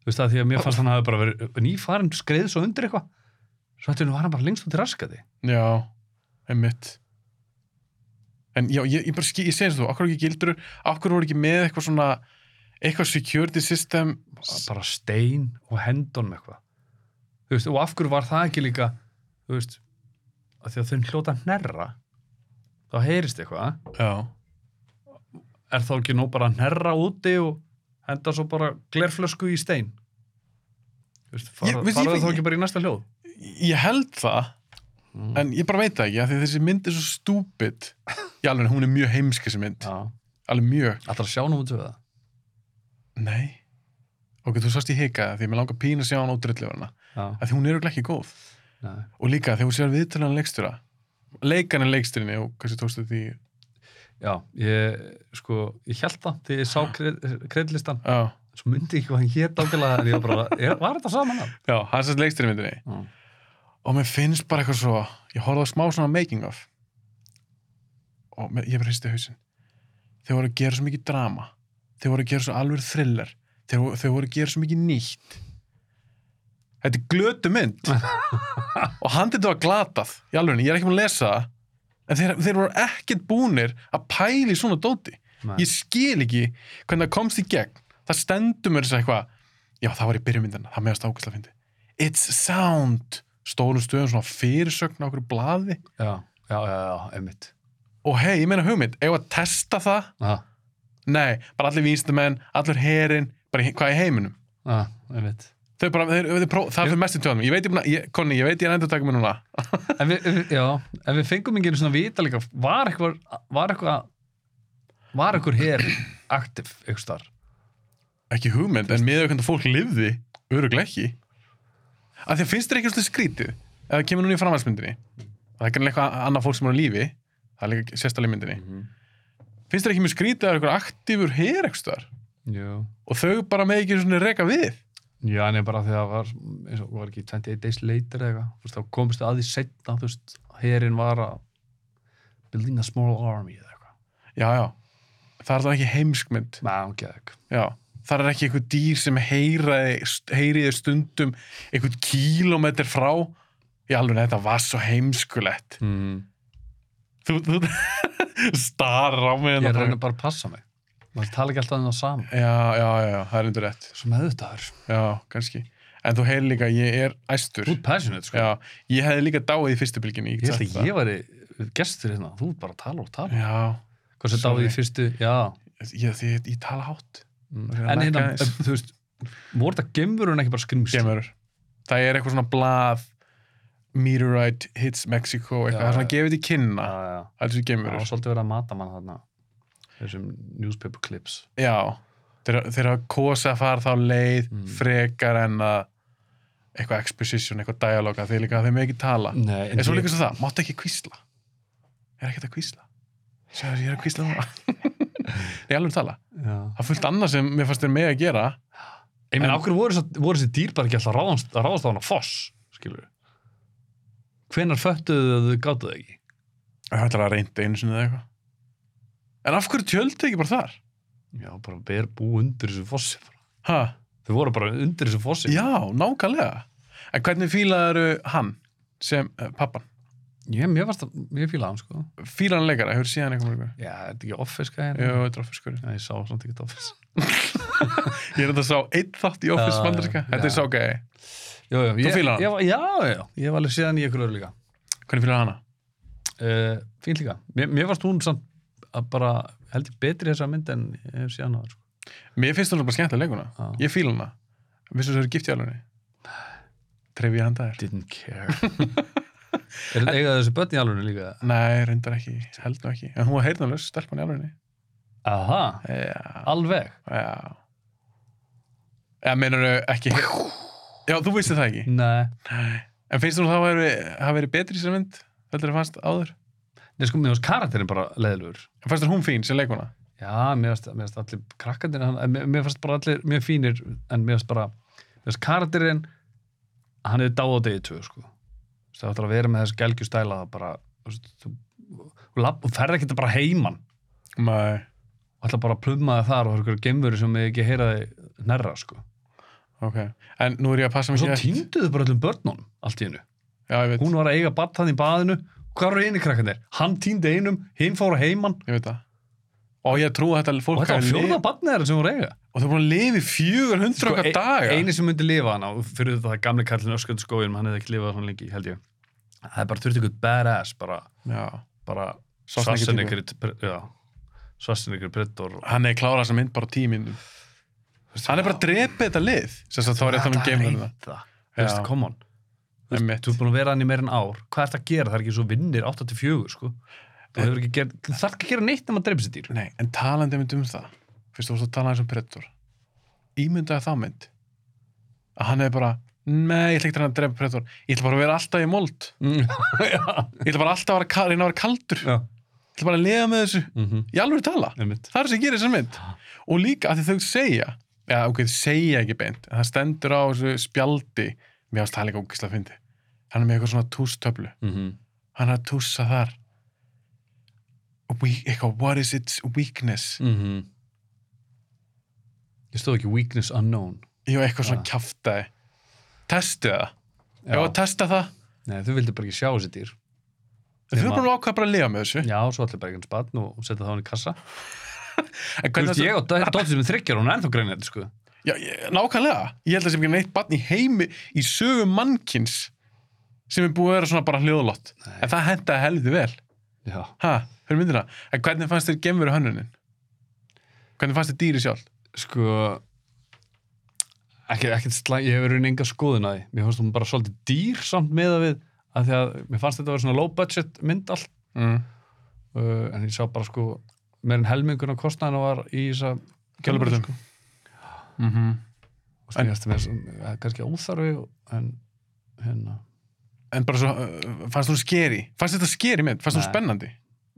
S1: þú veist það því að mér fannst hann hafi bara verið nýfarinn skreið svo undir eitthvað svo þetta var hann bara lengst út í raskati
S2: já, einmitt. En já, ég, ég bara skil, ég segi eins og þú, okkur ekki gildur, okkur voru ekki með eitthvað svona, eitthvað security system,
S1: bara stein og hendon með eitthvað þú veist, og af hverju var það ekki líka þú veist, að því að þau hljóta hnerra þá heyrist eitthvað eh?
S2: já,
S1: er þá ekki nóg bara að hnerra úti og henda svo bara glerflösku í stein þú veist, fara,
S2: Ég- veist, ég
S1: fara
S2: finn-
S1: þá ekki bara í næsta hljóð
S2: ég held það
S1: Mm.
S2: en ég bara veit það ekki af því að þessi mynd er svo stúpid já alveg hún er mjög heimsk þessi mynd
S1: já
S2: alveg mjög,
S1: Ætlar að sjá númur 2 það?
S2: nei ok, þú sást í hika því að mér langar pín að sjá hann ótrúlega
S1: já,
S2: að því hún er örugglega ekki góð
S1: nei.
S2: og líka þegar hún sér viðtölunan leikstjóra leikarinn leikstjórinni og kannski tókstu því
S1: já, ég sko, ég held það þegar ég sá kred- kreddlistan
S2: já,
S1: svo myndi ég ekki hvað hann hét ákveðlega en ég var bara, er, var þetta saman hann?
S2: já hann sérst leikstjórinni myndinni og mér finnst bara eitthvað svo ég horfði á smá svona making of og mér, ég bara hristi hausinn þeir voru að gera svo mikið drama þeir voru að gera svo alveg thriller þeir, voru- þeir voru að gera svo mikið nýtt þetta er glötu mynd og handið var glatað í alveg, ég er ekki búin að lesa það en þeir, þeir voru ekkert búnir að pæli svona dóti
S1: Nei.
S2: ég skil ekki hvernig það komst í gegn það stendur mér þess að eitthvað já það var í byrjumyndana, það meðast ákvæmst að fyndi it's sound stóru stöðum svona fyrirsögn á okkur blaði
S1: já, já, já, já, einmitt
S2: og hei, ég meina hugmynd, eigum við að testa það
S1: já,
S2: nei, bara allir vísnumenn, allur herin bara í- hvað í heiminum
S1: já, einmitt
S2: Þau bara, þeir, þeir, pró, það fyrir mest í tjóðum ég veit ég, búin að- ég, Conny, ég veit ég er endur að taka mér núna
S1: en við, ef við- já, en við fengum ekki einu svona vita líka, var eitthvað var eitthvað var eitthvað hér aktiv, eitthvað starf
S2: ekki hugmynd, en miðað við hvernig fólk lifði öruglega ekki að því að finnst þér ekki svolítið skrítið ef það kemur núna í framhaldsmyndinni það er kannski eitthvað annað fólk sem er á lífi það er líka sérstæli myndinni finnst þér ekki mjög skrítið að það er eitthvað aktífur hér eitthvað staðar?
S1: jú
S2: og þau bara með ekki svona reka við
S1: Já, en ég bara þegar það var, eins og var ekki 28 days later eða eitthvað, þú veist, þá komst það að því setna, þú veist, herin var að building a small army eða eitthvað.
S2: já, já, það er það ekki heimskmynd
S1: Nei, hún geði eitthvað.
S2: já, það er ekki eitthvað dýr sem heyriði stundum eitthvað kílómetr frá í alveg þetta var svo heimskulegt
S1: Mm.
S2: þú, þú starar á mig
S1: Ég
S2: hérna bara-
S1: reyna bara að passa mig. Maður tala ekki alltaf um það saman.
S2: Já, já, já, já, það er undir rétt.
S1: Svo með þetta þar.
S2: Já, kannski. En þú heyrir líka, ég er æstur.
S1: Þú ert passionate, sko.
S2: Já, ég hefði líka dáið í fyrstu bylginni.
S1: ég held að ég væri gestur hérna, þú ert bara að tala og tala.
S2: Já,
S1: Hvað sem dáði í fyrstu, já.
S2: ég, ég, ég, ég tala hátt.
S1: Mm.
S2: Það er að
S1: En
S2: lækka
S1: hérna,
S2: aðeins.
S1: þú veist, voru þetta gemur en ekki bara skrimsl?
S2: Gemurur. Það er eitthvað svona blað, meteorite hits Mexico, eitthvað.
S1: Já,
S2: það er
S1: já.
S2: svona gefið til kynna.
S1: Já, já.
S2: Það er svona
S1: Það var
S2: gemurur.
S1: svolítið verið að mata mann þarna, þessum newspaper clips.
S2: Já, þeir, þeir hafa kosið að fara þá leið
S1: Mm.
S2: frekar en að eitthvað exposition, eitthvað dialoga, þeir líka þeir með ekki tala.
S1: Nei,
S2: En svo líka svo það, máttu ekki kvísla. Ég er ekkert að kvísla. Sjáður, ég er að kvísla núna. Ég er alveg að tala.
S1: Já.
S2: Það er fullt annað sem mér fannst þér með að gera.
S1: Ég meina,
S2: En-
S1: okkur voru, þessar- voru þessi dýr bara ekki alltaf að ráðast, að ráðast á hana foss, skilur við? Hvenar föttuðu þau að þau gáttu þau ekki?
S2: Það er alltaf að reynda einu sinni eða eitthvað. En af hverju tjöldi ekki bara þar?
S1: Já, bara ber bú undir þessu fossi. bara.
S2: Ha?
S1: Þau voru bara undir þessu fossi.
S2: Já, nákvæmlega. En hvernig fílaðu hann sem uh, pappan?
S1: Ég, mér varst að, mér fíla hann, sko.
S2: Fílan leikara, hefur síðan eitthvað með
S1: Já, er þetta ekki office gæðin?
S2: Jú, þetta er office skurinn.
S1: Já, ég sá samt ekki office.
S2: Ég er þetta að sá einn þátt í office
S1: Já,
S2: bandarska.
S1: já.
S2: Þetta er ságæði.
S1: Jú, jú, ég,
S2: fílar hann?
S1: Ég, var- já, já, ég var alveg síðan í ykkur öru líka.
S2: Hvernig fílaðu hana?
S1: Uh, fín líka. Mér, mér varst hún samt að bara, held ég betri þessa mynd en ég hef síðan á það, sko.
S2: Mér finnst hún bara skemmtilega leikuna.
S1: Já.
S2: Ég fíla hana. Vissu þess að það eru gift í alvegni? Trefi hann það
S1: Didn't care. er þetta eigað þessi börn í alveg líka?
S2: Nei, reyndar ekki, held nú ekki. En hún var heyrnarlaus, stelpan í alvegni.
S1: Aha,
S2: Já,
S1: alveg.
S2: já. Eða meinar þau ekki... heyr- Já, þú veist það ekki.
S1: Nei,
S2: En finnst þú að það væri- hafi verið betri í sér mynd? Heldur það fannst áður?
S1: Nei, sko, mér varst karakterin bara leiðilegur.
S2: En fannst þér hún fín sem leikuna?
S1: Já, mér varst, mér varst allir krakkandir, mér, mér varst bara allir mjög fínir, en mér varst bara, mér varst karakterin, hann hefði dáð á degi tvö, sko. Þú veist, Það ætlar að vera með þessi gelgju stæla það bara, þú veist, þú, þú, labb- þú ferð ekki bara heiman.
S2: Nei.
S1: Þú ætlar bara að plumma það þar og það er einhverjum geimveru sem ég ekki heyra þig nærra, sko.
S2: Ok. En nú er ég að passa
S1: Og
S2: mig
S1: svo
S2: ekki eftir-
S1: týnduðu bara öllum börnunum, allt í hennu.
S2: Já, ég veit,
S1: Hún var að eiga barn þannig í baðinu, hvað eru einu krakkandir? Hann týndi einum, hinn fór að heiman
S2: ég veit það. Og ég trú að þetta
S1: og
S2: fólk
S1: þetta var
S2: hafi
S1: fjóða
S2: lifað-
S1: barnið þeirra sem hún var að eiga.
S2: Og það er búin að lifi fjögur hundra okkar
S1: ein-
S2: daga.
S1: Sko, e- eini sem myndi lifa hana og fyrir þetta það gamli kallin öskund skóinum hann hefði ekki lifað svona lengi, held ég það er bara þurfti ykkur badass bara,
S2: Já.
S1: bara
S2: Schwarzenegger
S1: svarsin ykkur svarsin ykkur brettor
S2: Hann er klárað sem mynd bara á tíu minnum. Hann er bara að drepa þetta lið. Sess að þá er þetta með geimverðina.
S1: þú veist,
S2: Já.
S1: come on Ah, Þú veist,
S2: Einmitt.
S1: þú er búin að vera hann í meir en ár hvað ert að gera, það er ekki svo vinnir 8-4 sko. þú hefur ekki gerð þú þarf ekki að gera neitt nema að dreipa sér dýr
S2: um Nei, en talandi mynd um það fyrst þú vorst að tala eins og Predator ímyndaði þá mynd að hann hefði bara Nei, ég ætla ekki að reyna að drepa Predator Ég ætla bara að vera alltaf í mold
S1: já,
S2: Ég ætla bara alltaf að vera ka- reyna að vera kaldur
S1: já.
S2: Ég ætla bara að liða með þessu
S1: Mm
S2: Í alveg tala
S1: einmitt.
S2: Það er sem gerir þessar mynd Og líka að þau segja Já, ok, þau segja ekki beint en Það stendur á þessu spjaldi Mér varst það líka ógislega fyndi Hann er með eitthvað svona tústöflu
S1: Mm
S2: Hann er að tússa þar We, eitthvað, What is its weakness?
S1: mhm. Ég stóð ekki weakness unknown.
S2: Ég var eitthvað svona
S1: Ah.
S2: kjaftaði Testið það Ég var að testa það
S1: Nei, þau vildi bara ekki sjá þessi dýr.
S2: Þau eru
S1: Nema-
S2: bara að ákveða bara að lifa með þessu
S1: Já, svo allir bara ekki bann og setja það á hann í kassa.
S2: En
S1: Þú
S2: hvernig
S1: veist,
S2: það-
S1: ég og Dóttir sem er þryggjar, hún er ennþá greinir þetta, sko.
S2: Já, ég, nákvæmlega. Ég held að sem ekki neitt barn í heimi, í sögum mannkins sem er búið að vera svona bara hljóðlott.
S1: Nei.
S2: En það hendaði heldur vel.
S1: Já.
S2: Ha, hörðu myndina. En hvernig fannst þér gemveru hönnunin? Hvernig fannst þér dýri sjálf?
S1: Sko, ekki, ekki slæ, ég hefur raunin enga skoðun að því. Mér fannst hún bara svolítið dýr samt með að við, að því að mér fannst þetta að vera svona low budget mynd allt,
S2: Mm.
S1: uh, en ég sá bara sko, meir en helmingun á kostnæðinu var í þessa
S2: Kjölubröðum.
S1: sko.
S2: Mm -hmm.
S1: mhm. Og svo ég eftir með þess að eh, kannski óþarfi, en hérna.
S2: En bara svo, uh, fannst þú skeri? Fannst þetta skeri mynd? Fannst þú
S1: Nei.
S2: spennandi?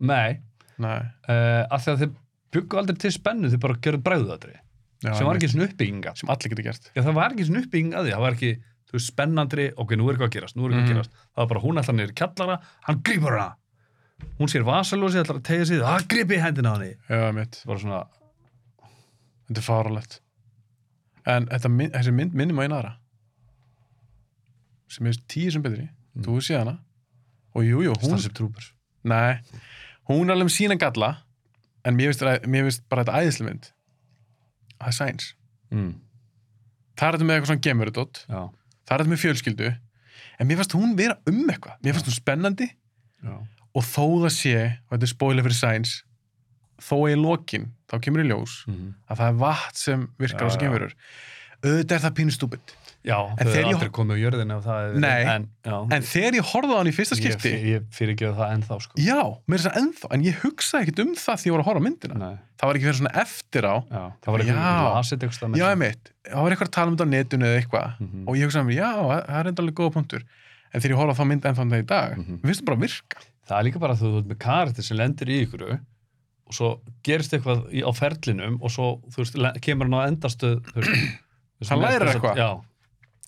S1: Nei,
S2: Nei.
S1: uh, að því að þið byggu aldrei til spennu, þið bara gerðu bræðuðatri,
S2: Já,
S1: sem var
S2: einmitt.
S1: ekki svona uppbygginga.
S2: sem allir getur gert.
S1: Já, það var ekki svona uppbygging að því, það var ekki, þú veist, spennandri, ok, nú er eitthvað að gerast, nú er eitthvað
S2: Mhm.
S1: að gerast. Það var bara hún ætlar niður í kjallara, hann grýpur hana. Hún sér vasalósi, ætlar að tegja sig, það grýpi hendina á henni.
S2: Já, mitt.
S1: Það var svona,
S2: Þetta er farulegt. En þetta, mynd- þessi mynd minnir mig á eina aðra. Sem er tíu sem betri. Þú hefur séð hana. Og jú, jú, hún...
S1: Starship Troopers.
S2: Nei, hún er alveg um sína galla. En mér finnst þetta- mér finnst bara þetta æðislega mynd. Það er sæns.
S1: Mm.
S2: Það er þetta með eitthvað svona gemurudótt.
S1: Já,
S2: Það er þetta með fjölskyldu. En mér finnst hún vera um eitthvað. Mér finnst hún spennandi.
S1: já,
S2: Og þó það sé, og þetta er spoiler fyrir sæns, þó í lokin, þá kemur í ljós
S1: mm.
S2: að það er vatn sem virkar
S1: Já,
S2: á þessu
S1: já.
S2: geimverur auðvitað er það pínu stúbid
S1: já þau
S2: þeir
S1: eru
S2: í-
S1: aldrei komið á jörðinu ef það hefði
S2: Nei,
S1: en, já,
S2: en þegar ég horfði á hann í fyrsta skipti
S1: Ég, ég fyrirgefa það ennþá, sko.
S2: já, mér er það ennþá en ég hugsaði ekkert um það því ég voru að horfa á myndina
S1: Nei,
S2: það var ekki fyrir svona eftir á
S1: já, það var eitthvað,
S2: Já.
S1: ég lasið eitthvað með
S2: já, emitt, það var eitthvað að tala um þetta á netinu eða eitthvað
S1: Mhm.
S2: og ég hugsaði mér, já, það er enda alveg góða punktur en þegar ég horfði á það mynd ennþá um það í dag
S1: Mhm.
S2: mér finnst það bara virka
S1: það er líka bara að þú þú ert með karakter sem lendir í ykkur og svo gerist eitthvað í, á ferlinum og svo þú veist, le- kemur hann á endastöð þú veist,
S2: Hann
S1: með-
S2: lærir
S1: þess að-
S2: eitthvað.
S1: já,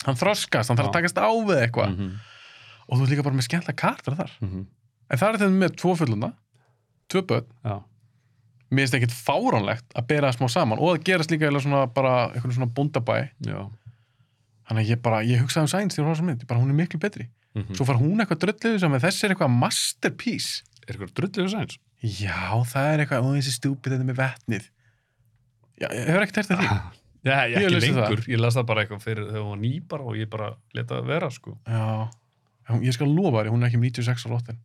S2: hann þroskast, hann þarf að
S1: Já.
S2: takast á við eitthvað
S1: mm -hmm.
S2: og þú ert líka bara með skemmtla kartar þar
S1: mhm.
S2: en það er þetta með tvo fulluna, tvö börn
S1: já.
S2: mér finnst ekkert fáránlegt að bera það smá saman og það gerast líka eiginlega svona bara einhvern svona búndabæ
S1: Já.
S2: þannig að ég bara, ég hugsaði um Sainz þegar hún var svo mynd ég bara hún er miklu betri,
S1: Mm -hmm.
S2: svo far hún eitthvað dröllið sem að þessi er eitthvað masterpiece
S1: er eitthvað drullið við sæns
S2: já, það er eitthvað, ó þessi stúpid þetta með vetnið já, ég hefur ekkert hægt að því
S1: já, ég,
S2: Ég
S1: ekki
S2: lesi það.
S1: lengur, ég las það bara eitthvað fyrir þegar hún var ný bara og ég bara leta það vera sko.
S2: já, hún- ég skal lofa þér, hún er ekki um 96 á róttin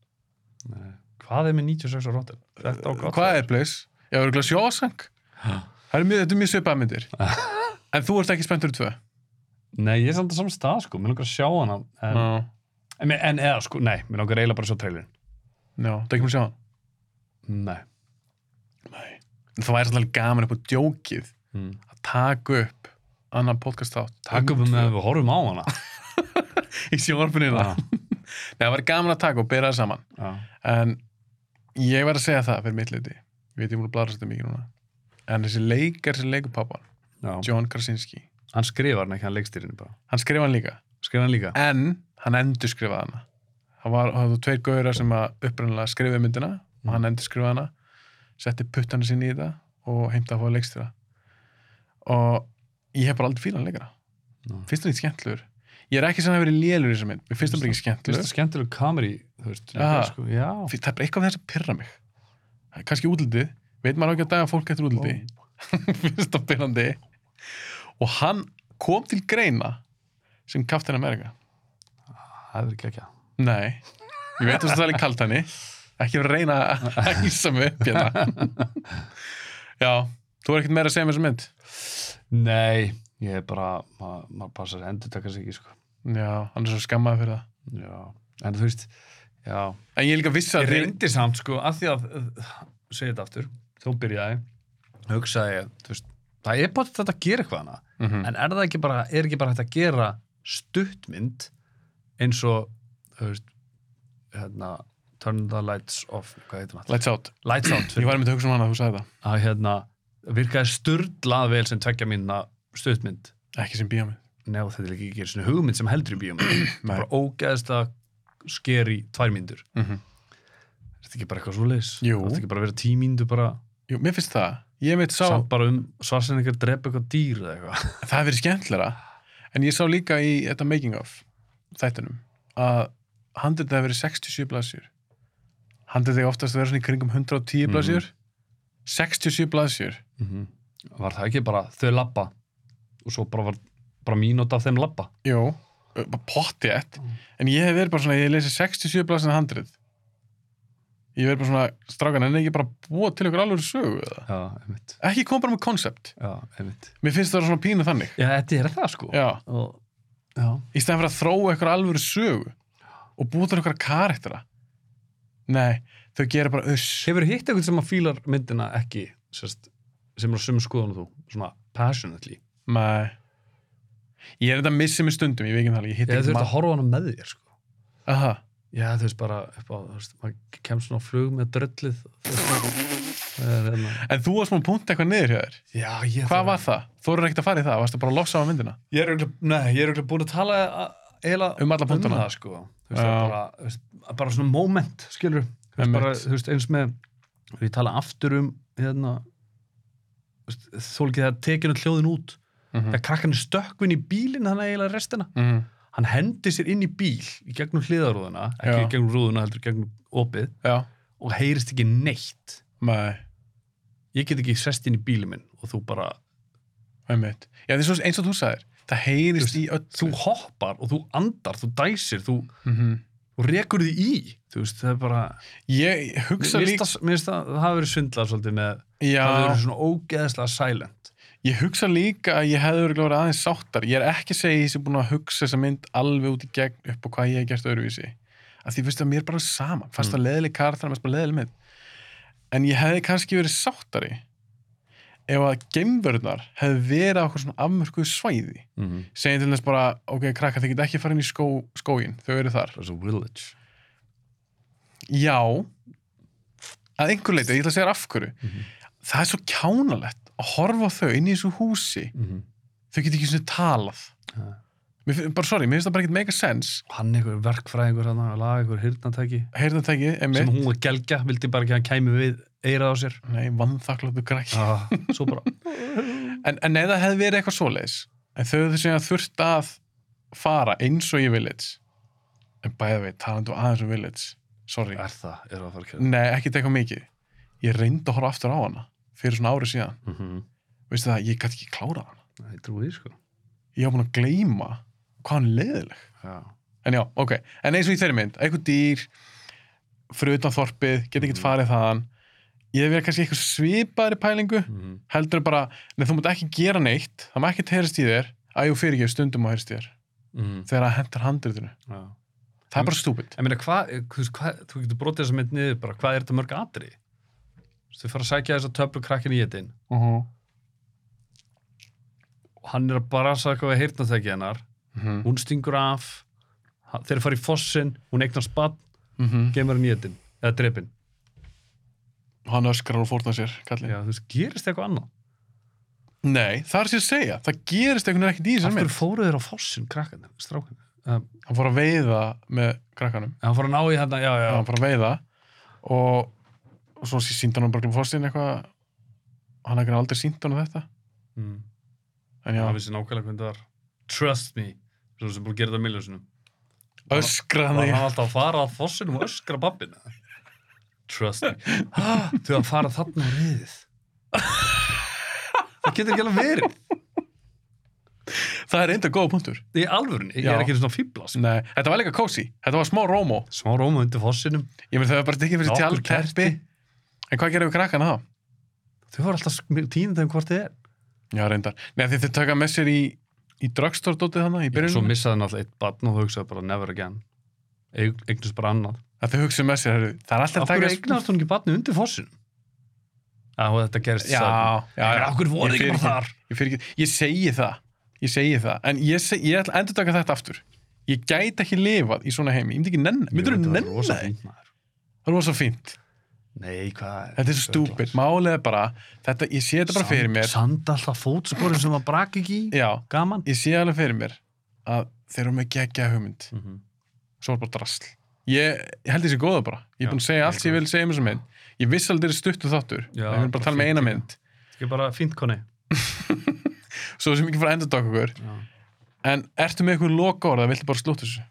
S1: Nei. hvað er með 96 á rótin? þetta ákvæmt
S2: hvað er place? já, er eitthvað sjósang það er mjög, þetta er mjög svipaða myndir en þú ert ekki spenntur í tvö
S1: nei, ég er samt að saman stað sko, mér langar að sjá hana en,
S2: já,
S1: en, en eða sko, nei, mér langar eiginlega bara að sjá trailerin
S2: já, það er ekki mér sjá hann
S1: nei
S2: nei, það væri svolítið gaman upp á djókið
S1: mm.
S2: að taka upp annan podcast þátt
S1: takkum við með að við horfum á hana
S2: í sjónvarpinu hérna. Nei, það var gaman að taka og bera það saman
S1: já.
S2: en ég verð að segja það fyrir mitt leiti ég veit ég múin að blara þetta mikið núna en þessi leikar sem leikur pappan
S1: Já.
S2: John Krasinski,
S1: hann skrifar hann ekki, hann leikstýrinni bara
S2: hann skrifa hann líka
S1: skrifar hann líka
S2: en hann endur skrifaði hana það var, það var tveir gauðra sem að upprunalega skrifaði myndina og
S1: Mm.
S2: hann endur skrifaði hana setti puttana sinni í þetta og heimta að fá leikstýra og ég hef bara aldrei fílan leikara
S1: Nú.
S2: finnst það ekki skemmtilegur ég er ekki sem að hafa verið lélur í þessar mynd mér finnst það bara ekki
S1: Mér finnst það
S2: skemmtilegur
S1: skemmtileg kameri þú veist,
S2: Já.
S1: líka, sko, já
S2: Fí- það er bara eitthvað með þess að pyrra mig Það er kannski útlitið, veit maður á ekki að daga fólk eftir útliti finnst það pyrrandi og hann kom til greina sem Captain America
S1: það er ekki ekki
S2: Nei, ég veit að það er í kalt henni ekki að reyna að hýsa mig upp hérna Já, þú er ekkert meira að segja mér sem mynd
S1: nei, ég er bara ma- maður passar að endur taka sig ekki sko.
S2: Já, hann er svo skammaði fyrir það
S1: já, en þú veist já,
S2: En ég er líka vissi
S1: ég
S2: að þið
S1: reyndi samt sko að uh, því að, segja þetta aftur þó byrjaði, hugsaði ég, þú veist, það er bara þetta að gera eitthvað hana
S2: mm -hmm.
S1: en er það ekki bara, er ekki bara hægt að gera stuttmynd eins og þú veist hérna, turn the lights off hvað heitum það?
S2: Lights out,
S1: Lights out
S2: ég
S1: fyrir,
S2: var með hugsa um hana að þú sagði það,
S1: að hérna virkaði sturdlað vel sem tvekja mínna stuttmynd
S2: ekki sem bíómið
S1: Nei, og þetta er ekki ekki svona hugmynd sem heldur í bíómynd Það
S2: Nei.
S1: er bara ógeðst að sker í tvær myndur
S2: mm
S1: er þetta ekki bara eitthvað svo leis?
S2: Jú.
S1: er þetta ekki bara að vera tímyndu bara
S2: Jú, mér finnst það, ég veit sá
S1: samt bara um svarsin ekki að drepa eitthvað dýr eða eitthvað
S2: það hefur verið skemmtilegra en ég sá líka í þetta making of þættunum að handritið hefur verið 67 blaðsjur handritið hefur oftast að vera svona í kringum 110
S1: Mhm.
S2: blaðsjur 67 blaðsjur
S1: var það ekki bara þau labba og svo bara var bara mínúta af þeim labba
S2: jú, bara pottjætt en ég hef verið bara svona, ég lesi 67 blaðsjur handrit ég hef verið bara svona strákan en ekki bara búa til ykkur alveg sögu eða?
S1: já, einmitt
S2: ekki kom bara með koncept
S1: já, einmitt
S2: mér finnst það vera svona pínu þannig
S1: já, þetta er það sko
S2: já,
S1: og, já.
S2: í stæðan fyrir að þróa ykkur alvöru sögu og búa til ykkur karaktera nei, þau gera bara uss
S1: hefur hitt eitthvað sem að fílar myndina ekki sérst, sem er á sömu skoðan og þú svona passionately
S2: nei ég er þetta að missa mig stundum, ég veit ekki um það ég hitt
S1: eða þú ert
S2: ekki
S1: að horfa á hana með þér sko
S2: aha,
S1: já, þú veist bara upp á, þú veist, maður kemst svona á flug með dröllið þú veist, það er hérna
S2: en þú varst maður punkt eitthvað niður hjá þér
S1: já, ég
S2: hvað var það? þú eru ekkert að fara í það, varstu bara að losa á myndina
S1: Ég er örugglega- nei, ég er örugglega búin að tala a- eiginlega
S2: Um alla punktana.
S1: það, sko. Þú veist,
S2: Já.
S1: það er bara, þú veist, bara svona moment, skilur þú veist,
S2: Einmitt.
S1: bara, þú veist, eins með ef ég tala aftur um hérna, þú veist, þó ekki það tekinu hljóðin út
S2: Mhm.
S1: þegar krakkan er stökkvinn í bílinn þannig eiginlega restina
S2: mm.
S1: hann hendi sér inn í bíl í gegnum hliðarúðuna ekki
S2: Já.
S1: í gegnum rúðuna, heldur í gegnum opið
S2: já,
S1: og heyrist ekki neitt
S2: nei,
S1: ég get ekki sest inn í bílinn minn og þú bara,
S2: einmitt já, það er svo eins og þú sagðir, það heyrist í öll
S1: þú hoppar og þú andar, þú dæsir þú,
S2: Mhm.
S1: og rekur því í þú veist, það er bara
S2: ég
S1: mér
S2: hugsa
S1: finnst
S2: líka
S1: það- mér finnst það, það hafa verið svindlað svolítið með það
S2: já,
S1: verið svona ógeðslega silent
S2: Ég hugsa líka að ég hefði verið verið aðeins sáttar. Ég er ekki að segja að ég sem búin að hugsa þessa mynd alveg út í gegn upp á hvað ég hef gert öðruvísi. Af því veist að mér er bara sama. Fast að leðileg karakter, mér er bara leðileg mynd. En ég hefði kannski verið sáttari ef að geimvörðnar hefði verið á okkur svona afmörkuðu svæði.
S1: mm -hmm.
S2: Segjum til þess bara, ok, krakkar, þið geta ekki farin í skó, skógin, þau eru þar.
S1: það er svo village
S2: Já, að einhver leiti, ég ætla að segja þér af hverju.
S1: Mhm,
S2: Það er svo kjánalegt að horfa á þau inn í þessu húsi.
S1: mhm.
S2: Þau geta ekki svona talað. Mér finn- bara sorry, mér finnst það bara ekkert mega sens
S1: hann einhver verkfræðingur hann að laga einhver hirnatæki
S2: heyrðartæki,
S1: sem
S2: emitt
S1: hún að gelgja, vildi bara ekki að hann kæmi við eirað á sér
S2: nei, vannþakláttu krakki
S1: ah, svo bara
S2: en, en nei, það hefði verið eitthvað svoleiðis en þau hefðu síðan þurft að fara eins og í Village en bæða við, talandu aðeins um Village sorry,
S1: er það, er það að fara að kæra
S2: nei, ekkert eitthvað mikið ég reyndi að horfa aftur á hana fyrir svona ári síðan,
S1: mm -hmm.
S2: veistu það, ég gæti ekki klárað hana
S1: ég trúi því sko
S2: ég var búin að gleyma hvað hann er leiðileg
S1: já.
S2: en já, ok, en eins og í þeirri mynd eitthvað dýr, fyrir utan þorpið get ekki
S1: Mhm.
S2: farið þaðan ég hef verið kannski eitthvað svipaðri pælingu
S1: Mm
S2: heldur en bara, neð þú mátt ekki gera neitt það má ekkert heyrast í þér, að jú fyrir ekki stundum á heyrast í þér,
S1: -hmm.
S2: þegar það hendur handritinu
S1: já.
S2: það er bara stúpid
S1: Ég meina, hvað, þú veist, hvað, þú getur brotið þessa mynd niður bara, hvað er þetta mörg atri? Þú fara að sækja þess að töflu krakkin í etin
S2: uh -huh.
S1: Mhm. og hann er að brasa eitthvað við heyrnatæki hennar
S2: Mhm.
S1: hún stingur af ha- þeir fara í fossin, hún eignar spatt
S2: Mhm.
S1: gemur hann í etin, eða drepin
S2: hann öskrar og fórna sér kallinn.
S1: já, þú veist, gerist eitthvað annað
S2: nei, það er sér að segja, það gerist einhvern veginn ekkert í þessar
S1: af
S2: mynd,
S1: hverju fóruð þeir á fossin, krakkan strákan, um,
S2: hann fór að veiða með krakkanum,
S1: hann fór að ná í þetta já, já,
S2: hann fór að veiða og, og svo síndi hann um bara fórstinn eitthvað hann hefði aldrei síndi hann þetta
S1: Mm.
S2: en já,
S1: hann vissi nákvæmlega hvernig það var trust me, svo sem búið að gera þetta miljónsunum
S2: öskraði
S1: var
S2: hann
S1: hann alltaf að fara að fossinum og öskra babbina trust me Ah, þau að fara þarna á riðið það getur ekki alveg verið
S2: það er enda góða punktur
S1: í alvörunni, ég
S2: Já.
S1: er ekki svona fíbla sko.
S2: nei, þetta var líka kósi, þetta var smá rómó
S1: smá róma undir fossinum
S2: Ég meina þau hefur bara tekið fyrir
S1: Nokkur
S2: tjald teppi En hvað gerir við krakkana þá?
S1: þau voru alltaf tíðin þegar hvort þið er
S2: Já, reyndar. Nei, því þau taka með sér í, í drugstore-dótið
S1: Já,
S2: þannig, í
S1: svo
S2: byrjunum.
S1: missaði hann alltaf eitt barn og þau hugsaði bara never again Eig- eignast bara annað
S2: Að þau hugsa með sér, heru, það er
S1: af
S2: alltaf að taka...
S1: hverju eignast hún ekki barni undir fossinum að þetta gerist
S2: Já, já, já.
S1: af hverju voru þið
S2: Ég
S1: ekki
S2: fer
S1: bara þar
S2: Ég, fyrir ekki, ég segi það. Ég segi það, en ég, seg, ég ætla að endur taka þetta aftur. Ég gæti ekki lifað í svona heimi, ég myndi ekki nenni. Myndur þú nenni það? Það er rosa fínt.
S1: Nei, hvað
S2: Þetta er svo stúpid. Málið er bara, þetta, ég sé þetta bara fyrir mér.
S1: Sand alltaf fótsporin sem að brak ekki í
S2: Já,
S1: Gaman
S2: ég sé alveg fyrir mér að þeir eru með geggja hugmynd.
S1: mm -hmm.
S2: Svo er bara drasl. Ég, ég held þessi góða bara. Ég er
S1: Já,
S2: búin að segja allt sem ég vil segja um þessu mynd. Ég viss alveg þeir eru stuttu þáttur.
S1: Já,
S2: Ég vil bara
S1: bara
S2: tala með
S1: fínt
S2: eina
S1: líka.
S2: mynd.
S1: Ekki bara fínt koni
S2: Svo sem ekki fara að endur taka okkur. En ertu með eitthvað loka orða, viltu bara slúta þessu?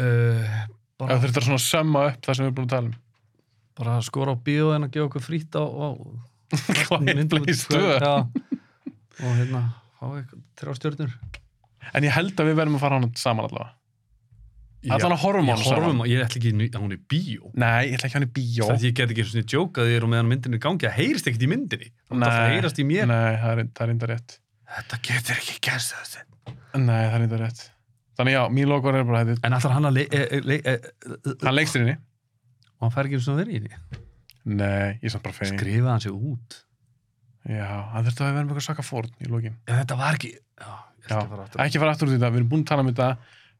S1: uh, bara,
S2: Ef þetta er svona að sömma upp það sem við erum búin að tala um.
S1: bara að skora á bíóin að gefa okkur frýtt á, á
S2: Quiet Place 2.
S1: Já. og hérna fá eitthvað þrjá stjörnur
S2: En ég held að við verðum að fara á hana saman allavega. Allan að horfum
S1: Ég
S2: á hana
S1: horfum
S2: saman.
S1: á, ég ætla ekki í nu- að hún er bíó
S2: Nei, ég ætla ekki hann í bíó.
S1: Það ég get ekki svona djóka því og meðan myndin er í gangi að heyrist ekkert í myndinni Það er alltaf að
S2: Nei.
S1: heyrast í mér
S2: Nei, það er, það er enda rétt.
S1: Þetta getur ekki gerst þessi
S2: Nei, það er enda rétt. Þannig já, mín lokar er bara þetta.
S1: En alltaf hann að le, e, e, le, e, e,
S2: Hann leikst þérinni?
S1: og hann fær ekki svona verið í henni
S2: Nei, ég er samt bara fegin.
S1: Skrifa hann sér út
S2: Já, hann þurfti að vera með eitthvað svaka fórn í lokin.
S1: En þetta var ekki Já, ég
S2: Já,
S1: ætla að fara aftur
S2: ekki fara aftur út í þetta. Við erum búin að tala um þetta.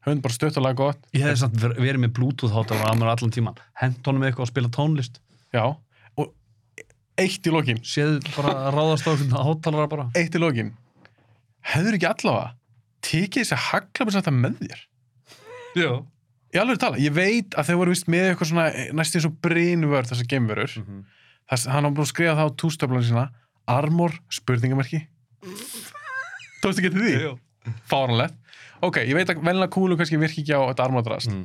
S2: Höfum bara stött og laga gott.
S1: Ég hefði samt ver- verið með Bluetooth hátar á mér allan tíman Hent honum eitthvað að spila tónlist
S2: Já, og eitt í lokin.
S1: Séðu bara að ráðast á einhvern hátalara bara
S2: Eitt í lokin. Hefur ekki allavega tekið þessi haglabins að með þér?
S1: Já
S2: Í alveg tala, ég veit að þau voru vist með eitthvað svona eh, næst eins og brínvörð þessar geimverur. Þess, hann var búin að skrifa það á tústöflanu sína Armor spurningamerki Tókstu ekki til því? Fáranlegt Ok, ég veit að venlega kúlu kannski virki ekki á þetta armordrast
S1: Mm.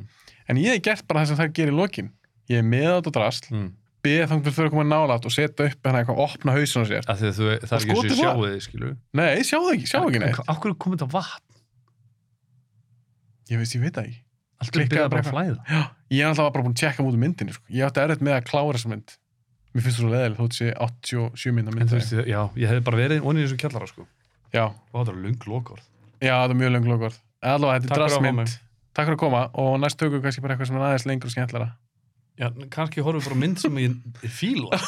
S2: En ég hef gert bara það sem það gerir í lokin Ég er með á þetta drast
S1: Mm.
S2: Beðið þangt fyrir að koma nálægt og setja upp hann eitthvað opna hausin á sér
S1: Af því að þú, það er ekki eins og
S2: skotið
S1: ég
S2: var.
S1: sjáu þið skilur
S2: Nei, sjáðu ekki, sjáðu ekki neitt
S1: Akkur kom þetta vatn
S2: Ég veist, ég veit það ekki
S1: Allt er
S2: Klikkaði
S1: byrjað bara
S2: bara
S1: að flæða
S2: Já, ég er alltaf bara búin að tjekka mútu myndinni sko. Ég átti erfitt með að klára þessa mynd Mér finnst þú svo leðileg, þú sé 87 mynda
S1: En
S2: mynd
S1: þú veist, já, ég hefði bara verið onni í þessu kjallara sko
S2: Já,
S1: Og það er löng lokorð
S2: Já, það er mjög löng lokkvörð. Allavega, þetta
S1: Takk fyrir
S2: er
S1: að hafa
S2: drastmynd.
S1: mig.
S2: Takk fyrir að koma og næst tökum við kannski bara eitthvað sem er aðeins lengur og skemmtlara.
S1: Já, en kannski horfum við bara á mynd sem ég ég fíla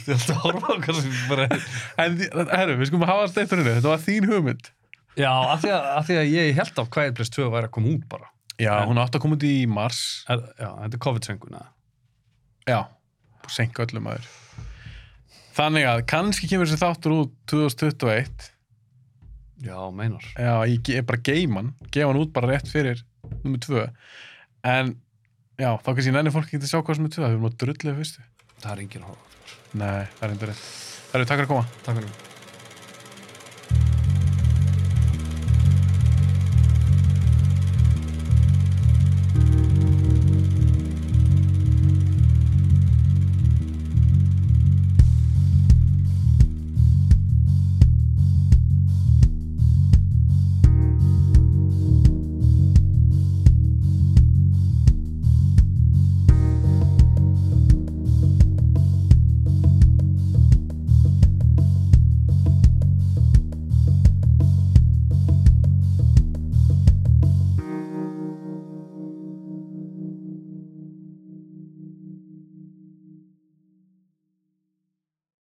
S1: Þú ætti að horfa á kannski bara
S2: En, því- herru, við skulum hafa þetta eftir henni. Þetta var þín hugmynd.
S1: Já, af því að, af því að ég held af Quiet Place 2 væri að koma út bara
S2: Já,
S1: En-
S2: hún átti að koma út í mars.
S1: Er, já, þetta er COVID-senguna
S2: Já. Búið að senka öllum aður. Þannig að kannski kemur þessi þáttur út 2021.
S1: Já, meinar
S2: Já, ég ge- ég bara geim hann. Gefa hann út bara rétt fyrir nummer tvö. En, já, þá kannski nenni fólk ekki að sjá hvað sem er tvö. Það er nú drullið fyrstu.
S1: Það er engin að horfa
S2: Nei, það er enda rétt. Herru, takk fyrir að koma.
S1: Takk fyrir